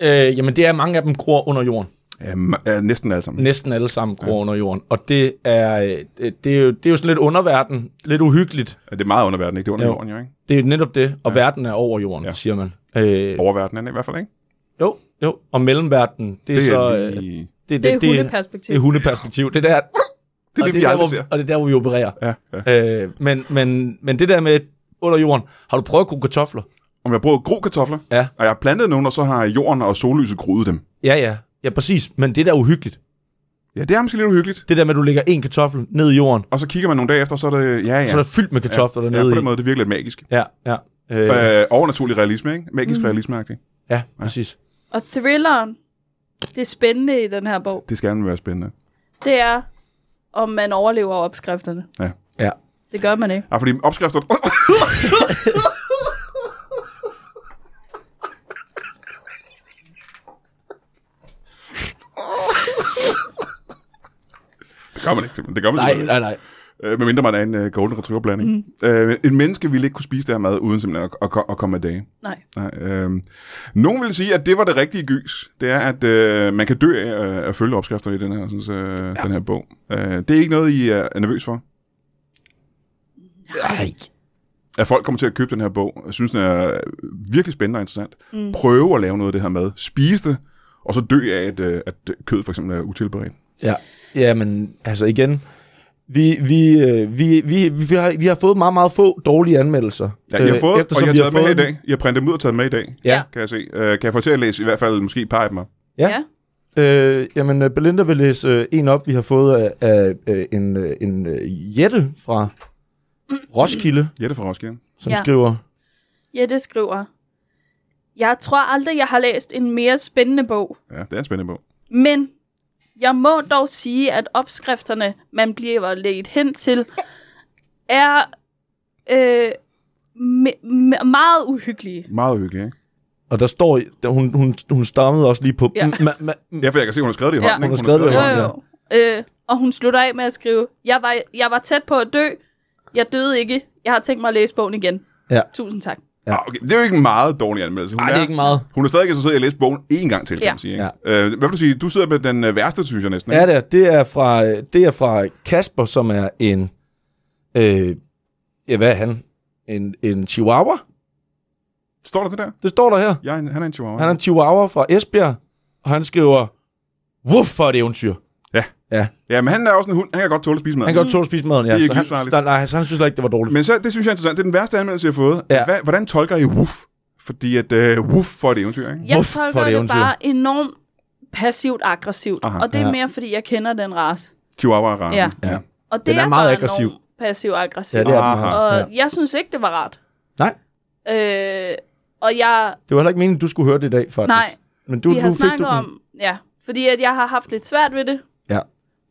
Speaker 2: øh, jamen, det er mange af dem gror under jorden.
Speaker 1: Øhm, øh, næsten alle sammen.
Speaker 2: Næsten alle sammen gror ja. under jorden. Og det er, øh, det, det, er jo, det er jo sådan lidt underverden, lidt uhyggeligt.
Speaker 1: Ja, Det er meget underverden, ikke? Det er under
Speaker 2: Jo.
Speaker 1: jorden, jo, ikke?
Speaker 2: Det er jo netop det, og ja. verden er over jorden,
Speaker 1: Ja.
Speaker 2: ja. siger man. Øh,
Speaker 1: Oververdenen er i hvert fald, ikke?
Speaker 2: jo, jo. Og mellemverden, det er,
Speaker 1: Det er,
Speaker 2: så... øh,
Speaker 1: lige...
Speaker 2: det,
Speaker 3: Det er
Speaker 2: Det
Speaker 3: hundeperspektiv.
Speaker 2: er hundeperspektiv. Det er der,
Speaker 1: det, er
Speaker 2: og
Speaker 1: det,
Speaker 2: det
Speaker 1: vi
Speaker 2: er der,
Speaker 1: aldrig
Speaker 2: hvor,
Speaker 1: ser.
Speaker 2: og det er der, hvor vi opererer.
Speaker 1: Ja, ja.
Speaker 2: Øh, men, men, men det der med under jorden, har du prøvet at koge kartofler?
Speaker 1: Om jeg bruger grå kartofler,
Speaker 2: Ja.
Speaker 1: og jeg har plantet nogen, og så har jorden og sollyset groet dem.
Speaker 2: Ja, ja. Ja, præcis. Men det der er uhyggeligt.
Speaker 1: Ja, det er måske lidt uhyggeligt.
Speaker 2: Det der med, at du lægger en kartoffel ned i jorden,
Speaker 1: Og så kigger man nogle dage efter, og så er det... Ja, ja.
Speaker 2: ja. så er der fyldt med kartofler ja.
Speaker 1: ja,
Speaker 2: dernede
Speaker 1: på
Speaker 2: i.
Speaker 1: den måde, det er virkelig lidt magisk.
Speaker 2: Ja, ja. Øh,
Speaker 1: Øh, overnaturlig realisme, ikke? Magisk mm. realisme -agtigt.
Speaker 2: ja, præcis.
Speaker 3: Og thrilleren, det spændende i den her bog,
Speaker 1: Det skal nemlig være spændende.
Speaker 3: det er, om man overlever opskrifterne.
Speaker 2: Ja.
Speaker 3: Det gør man ikke.
Speaker 1: Ja, fordi opskrifter... Det gør man ikke, simpelthen. Det gør man
Speaker 2: Nej,
Speaker 1: simpelthen ikke.
Speaker 2: nej, nej.
Speaker 1: Øh, medmindre man er en øh, golden retriever blanding. Mm. Øh, en menneske ville ikke kunne spise det her mad, uden simpelthen at, at, at komme af dage.
Speaker 3: Nej.
Speaker 1: Nej, øh, nogen vil sige, at det var det rigtige gys. Det er, at øh, man kan dø af øh, at følge opskrifter i den her, synes, øh, ja. den her bog. Øh, det er ikke noget, I er er nervøs for?
Speaker 2: Nej.
Speaker 1: At folk kommer til at købe den her bog, og synes, den er virkelig spændende og interessant. Mm. Prøve at lave noget af det her mad. Spise det, og så dø af, at, øh, at kød for eksempel er utilberedt.
Speaker 2: Ja. ja, men altså igen, vi, vi, øh, vi, vi, vi, har, vi har fået meget, meget få dårlige anmeldelser.
Speaker 1: Ja, I har
Speaker 2: Øh,
Speaker 1: fået, og I har
Speaker 2: vi
Speaker 1: taget med i dag. I har printet dem ud og taget dem med i dag,
Speaker 2: Ja.
Speaker 1: kan jeg se. Øh, kan jeg få til at læse i hvert fald måske et par af dem op?
Speaker 2: Ja.
Speaker 3: ja.
Speaker 2: Øh, jamen, øh, Belinda vil læse øh, en op, vi har fået af, af øh, en, øh, en øh, Jette fra Roskilde,
Speaker 1: Jette fra Roskilde.
Speaker 2: som
Speaker 3: Ja.
Speaker 2: ja. skriver...
Speaker 3: Ja, det skriver. Jeg tror aldrig, jeg har læst en mere spændende bog,
Speaker 1: Ja, det er en spændende bog.
Speaker 3: men jeg må dog sige, at opskrifterne, man bliver ledt hen til, er øh, me- me- meget uhyggelige.
Speaker 1: Meget hyggelig, ikke?
Speaker 2: Og der står... i- Der, hun, hun, hun stammede også lige på...
Speaker 3: Ja.
Speaker 2: Ja. Ma, ma,
Speaker 1: Ja, for jeg kan se, hun har skrevet det i
Speaker 3: Ja.
Speaker 1: hånden. ikke?
Speaker 2: Hun har skrevet det i
Speaker 3: Jo,
Speaker 2: hånden.
Speaker 3: jo. jo. Øh, og hun slutter af med at skrive, jeg var, jeg var tæt på at dø, jeg døde ikke, jeg har tænkt mig at læse bogen igen.
Speaker 2: Ja.
Speaker 3: Tusind tak.
Speaker 1: Ja. Ah, okay. Det er jo ikke en meget dårlig anmeldelse. Hun,
Speaker 2: Ej, det er ikke meget.
Speaker 1: hun er stadig interesseret i at læse bogen én gang til, kan
Speaker 3: Ja.
Speaker 1: man sige. Ikke? Ja. Øh, hvad vil du sige? Du sidder med den øh, værste, synes jeg næsten. Ikke?
Speaker 2: Ja, det er. Det er fra, øh, det er fra Kasper, som er en... Øh, ja, hvad er han? En, en chihuahua?
Speaker 1: Står der det der?
Speaker 2: Det står der her.
Speaker 1: Jeg er en, han er en chihuahua.
Speaker 2: Han er en chihuahua fra Esbjerg, og han skriver... Wuff, for et eventyr.
Speaker 1: Ja.
Speaker 2: Ja,
Speaker 1: Ja, men han er også en hund. Han kan godt tåle at spise mad.
Speaker 2: han kan godt tåle at spise maden, ja.
Speaker 1: Det er
Speaker 2: så han,
Speaker 1: livsfarligt.
Speaker 2: så- nej, så han synes slet ikke, det var dårligt.
Speaker 1: Men så, det synes jeg er interessant. Det er den værste anmeldelse, jeg har fået.
Speaker 2: Ja.
Speaker 1: Hva, hvordan tolker I woof? Fordi at øh, woof for et eventyr, ikke?
Speaker 3: Jeg
Speaker 2: Wuf, for
Speaker 3: tolker
Speaker 2: et
Speaker 3: det
Speaker 2: eventyr.
Speaker 3: bare enormt passivt aggressivt.
Speaker 1: Aha,
Speaker 3: Aha, og det er
Speaker 2: ja.
Speaker 3: ja. mere, fordi jeg kender den race.
Speaker 1: Chihuahua er rart.
Speaker 3: Ja.
Speaker 1: ja.
Speaker 3: Og det
Speaker 2: Den er meget
Speaker 3: bare
Speaker 2: aggressiv.
Speaker 3: enormt Passiv aggressiv.
Speaker 2: Ja, det er den.
Speaker 1: Aha.
Speaker 2: her.
Speaker 3: og
Speaker 2: Ah. Ja.
Speaker 3: jeg synes ikke, det var rart.
Speaker 2: Nej,
Speaker 3: Øh, og jeg,
Speaker 2: det var heller ikke meningen, du skulle høre det i dag, faktisk.
Speaker 3: Nej.
Speaker 2: Men du,
Speaker 3: du, vi har
Speaker 2: nu fik du
Speaker 3: snakket
Speaker 2: den.
Speaker 3: om, ja, fordi at jeg har haft lidt svært ved det.
Speaker 2: Ja.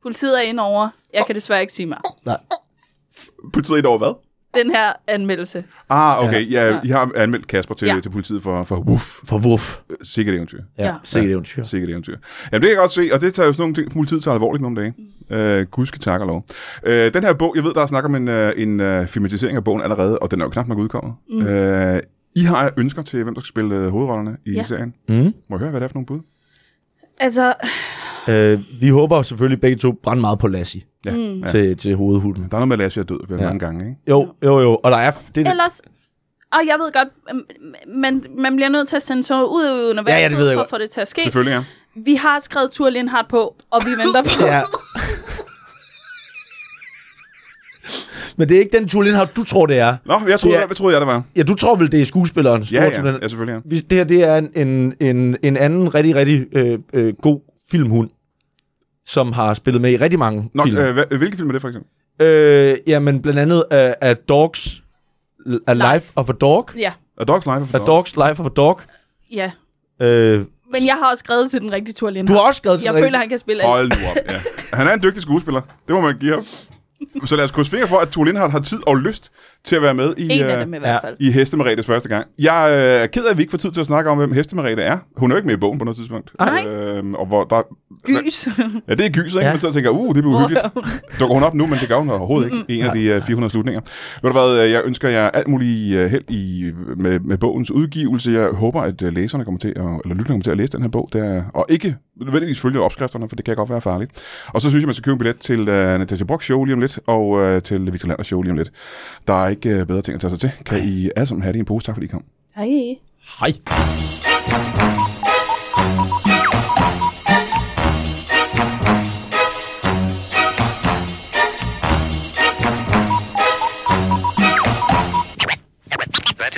Speaker 3: Politiet er inde over. Jeg kan desværre ikke sige mig.
Speaker 2: Nej.
Speaker 1: Politiet over hvad?
Speaker 3: Den her anmeldelse.
Speaker 1: Ah, okay. Ja,
Speaker 3: Ja.
Speaker 1: I har anmeldt Kasper til, ja.
Speaker 3: Ja.
Speaker 1: til politiet for, for wuff.
Speaker 2: For wuff.
Speaker 1: Sikkert eventyr.
Speaker 2: Ja,
Speaker 3: Ja.
Speaker 2: ja. sikkert eventyr.
Speaker 1: Sikkert eventyr. Jamen, det kan jeg godt se, og det tager jo sådan nogle ting, politiet tager alvorligt nogle dage. Øh, Gud skal takke og lov. Øh, den her bog, jeg ved, der er snak om en, øh, en øh, filmatisering af bogen allerede, og den er jo knap nok udkommet. Mm. Øh, I har ønsker til, hvem der skal spille øh, hovedrollerne i ja.
Speaker 3: Ja.
Speaker 1: serien.
Speaker 2: Mm.
Speaker 1: Må jeg høre, hvad det er for nogle bud?
Speaker 3: Altså,
Speaker 2: Øh, vi håber selvfølgelig begge to brændt meget på Lassie
Speaker 1: Ja. Mm. ja.
Speaker 2: til, til hovedhulen.
Speaker 1: Der er noget med, at Lasse er død vel, ja.
Speaker 2: Ja.
Speaker 1: mange gange, ikke?
Speaker 2: Jo, jo, jo. Og der er... Det, er-
Speaker 3: ellers... Og jeg ved godt, man, man bliver nødt til at sende sådan noget ud undervejs,
Speaker 2: Ja, ja, det ved jeg
Speaker 3: for
Speaker 2: godt.
Speaker 3: at få det til at ske.
Speaker 1: Selvfølgelig, ja.
Speaker 3: Vi har skrevet Tur Lindhardt på, og vi venter på.
Speaker 2: ja. Men det er ikke den Tulin har du tror, det er.
Speaker 1: Nå, jeg troede,
Speaker 2: Ja.
Speaker 1: ja. hvad troede jeg, det var?
Speaker 2: Ja, du tror vel, det er skuespilleren.
Speaker 1: Ja,
Speaker 2: Store
Speaker 1: ja,
Speaker 2: Tulin.
Speaker 1: ja, selvfølgelig, ja.
Speaker 2: Hvis- Det her det er en, en, en, en anden rigtig, rigtig øh, øh, god filmhund, som har spillet med i rigtig mange
Speaker 1: Nå,
Speaker 2: film.
Speaker 1: øh, hvad, hvilke film er det, for eksempel?
Speaker 2: Øh, jamen, blandt andet af, af Dogs... A Life of a Dog.
Speaker 3: Ja,
Speaker 1: A Dog's Life of
Speaker 2: A Dog's Life of a Dog.
Speaker 3: ja.
Speaker 2: Øh,
Speaker 3: Men jeg har også skrevet til den rigtige Tur
Speaker 2: du
Speaker 3: Lindhardt.
Speaker 2: har også skrevet til
Speaker 3: Jeg
Speaker 2: den
Speaker 3: føler, han kan spille alt.
Speaker 1: Hold nu op, ja. Han er en dygtig skuespiller. Det må man give ham. Så lad os krydse fingre for, at Tue Lindhardt har tid og lyst til at være med i,
Speaker 3: En
Speaker 1: øh,
Speaker 3: af dem i
Speaker 2: ja.
Speaker 3: hvert fald.
Speaker 1: i Hestemaretes første gang. Jeg øh, er ked af, at vi ikke får tid til at snakke om, hvem Hestemarete er. Hun er jo ikke med i bogen på noget tidspunkt.
Speaker 3: Nej.
Speaker 1: Øhm, og hvor der,
Speaker 3: Gys.
Speaker 1: ja, det er gys, ikke? Ja.
Speaker 2: Ja.
Speaker 1: Man sidder og tænker, uh, det bliver uhyggeligt. Dukker hun op nu, men det gør hun overhovedet ikke. En af de øh, 400 slutninger. Ved du hvad, øh, jeg ønsker jer alt muligt øh, held i, med, med bogens udgivelse. Jeg håber, at øh, læserne kommer til at, eller lytterne kommer til at læse den her bog, der, og ikke nødvendigvis følge opskrifterne, for det kan godt være farligt. Og så synes jeg, man skal købe en billet til uh, Natasha Brock show lige om lidt, og uh, til Victor Landers show lige om lidt. Der er ikke øh, bedre ting at tage sig til. Kan I alle sammen have det i en pose? Tak fordi I kom.
Speaker 3: Hej.
Speaker 2: Hej.
Speaker 4: That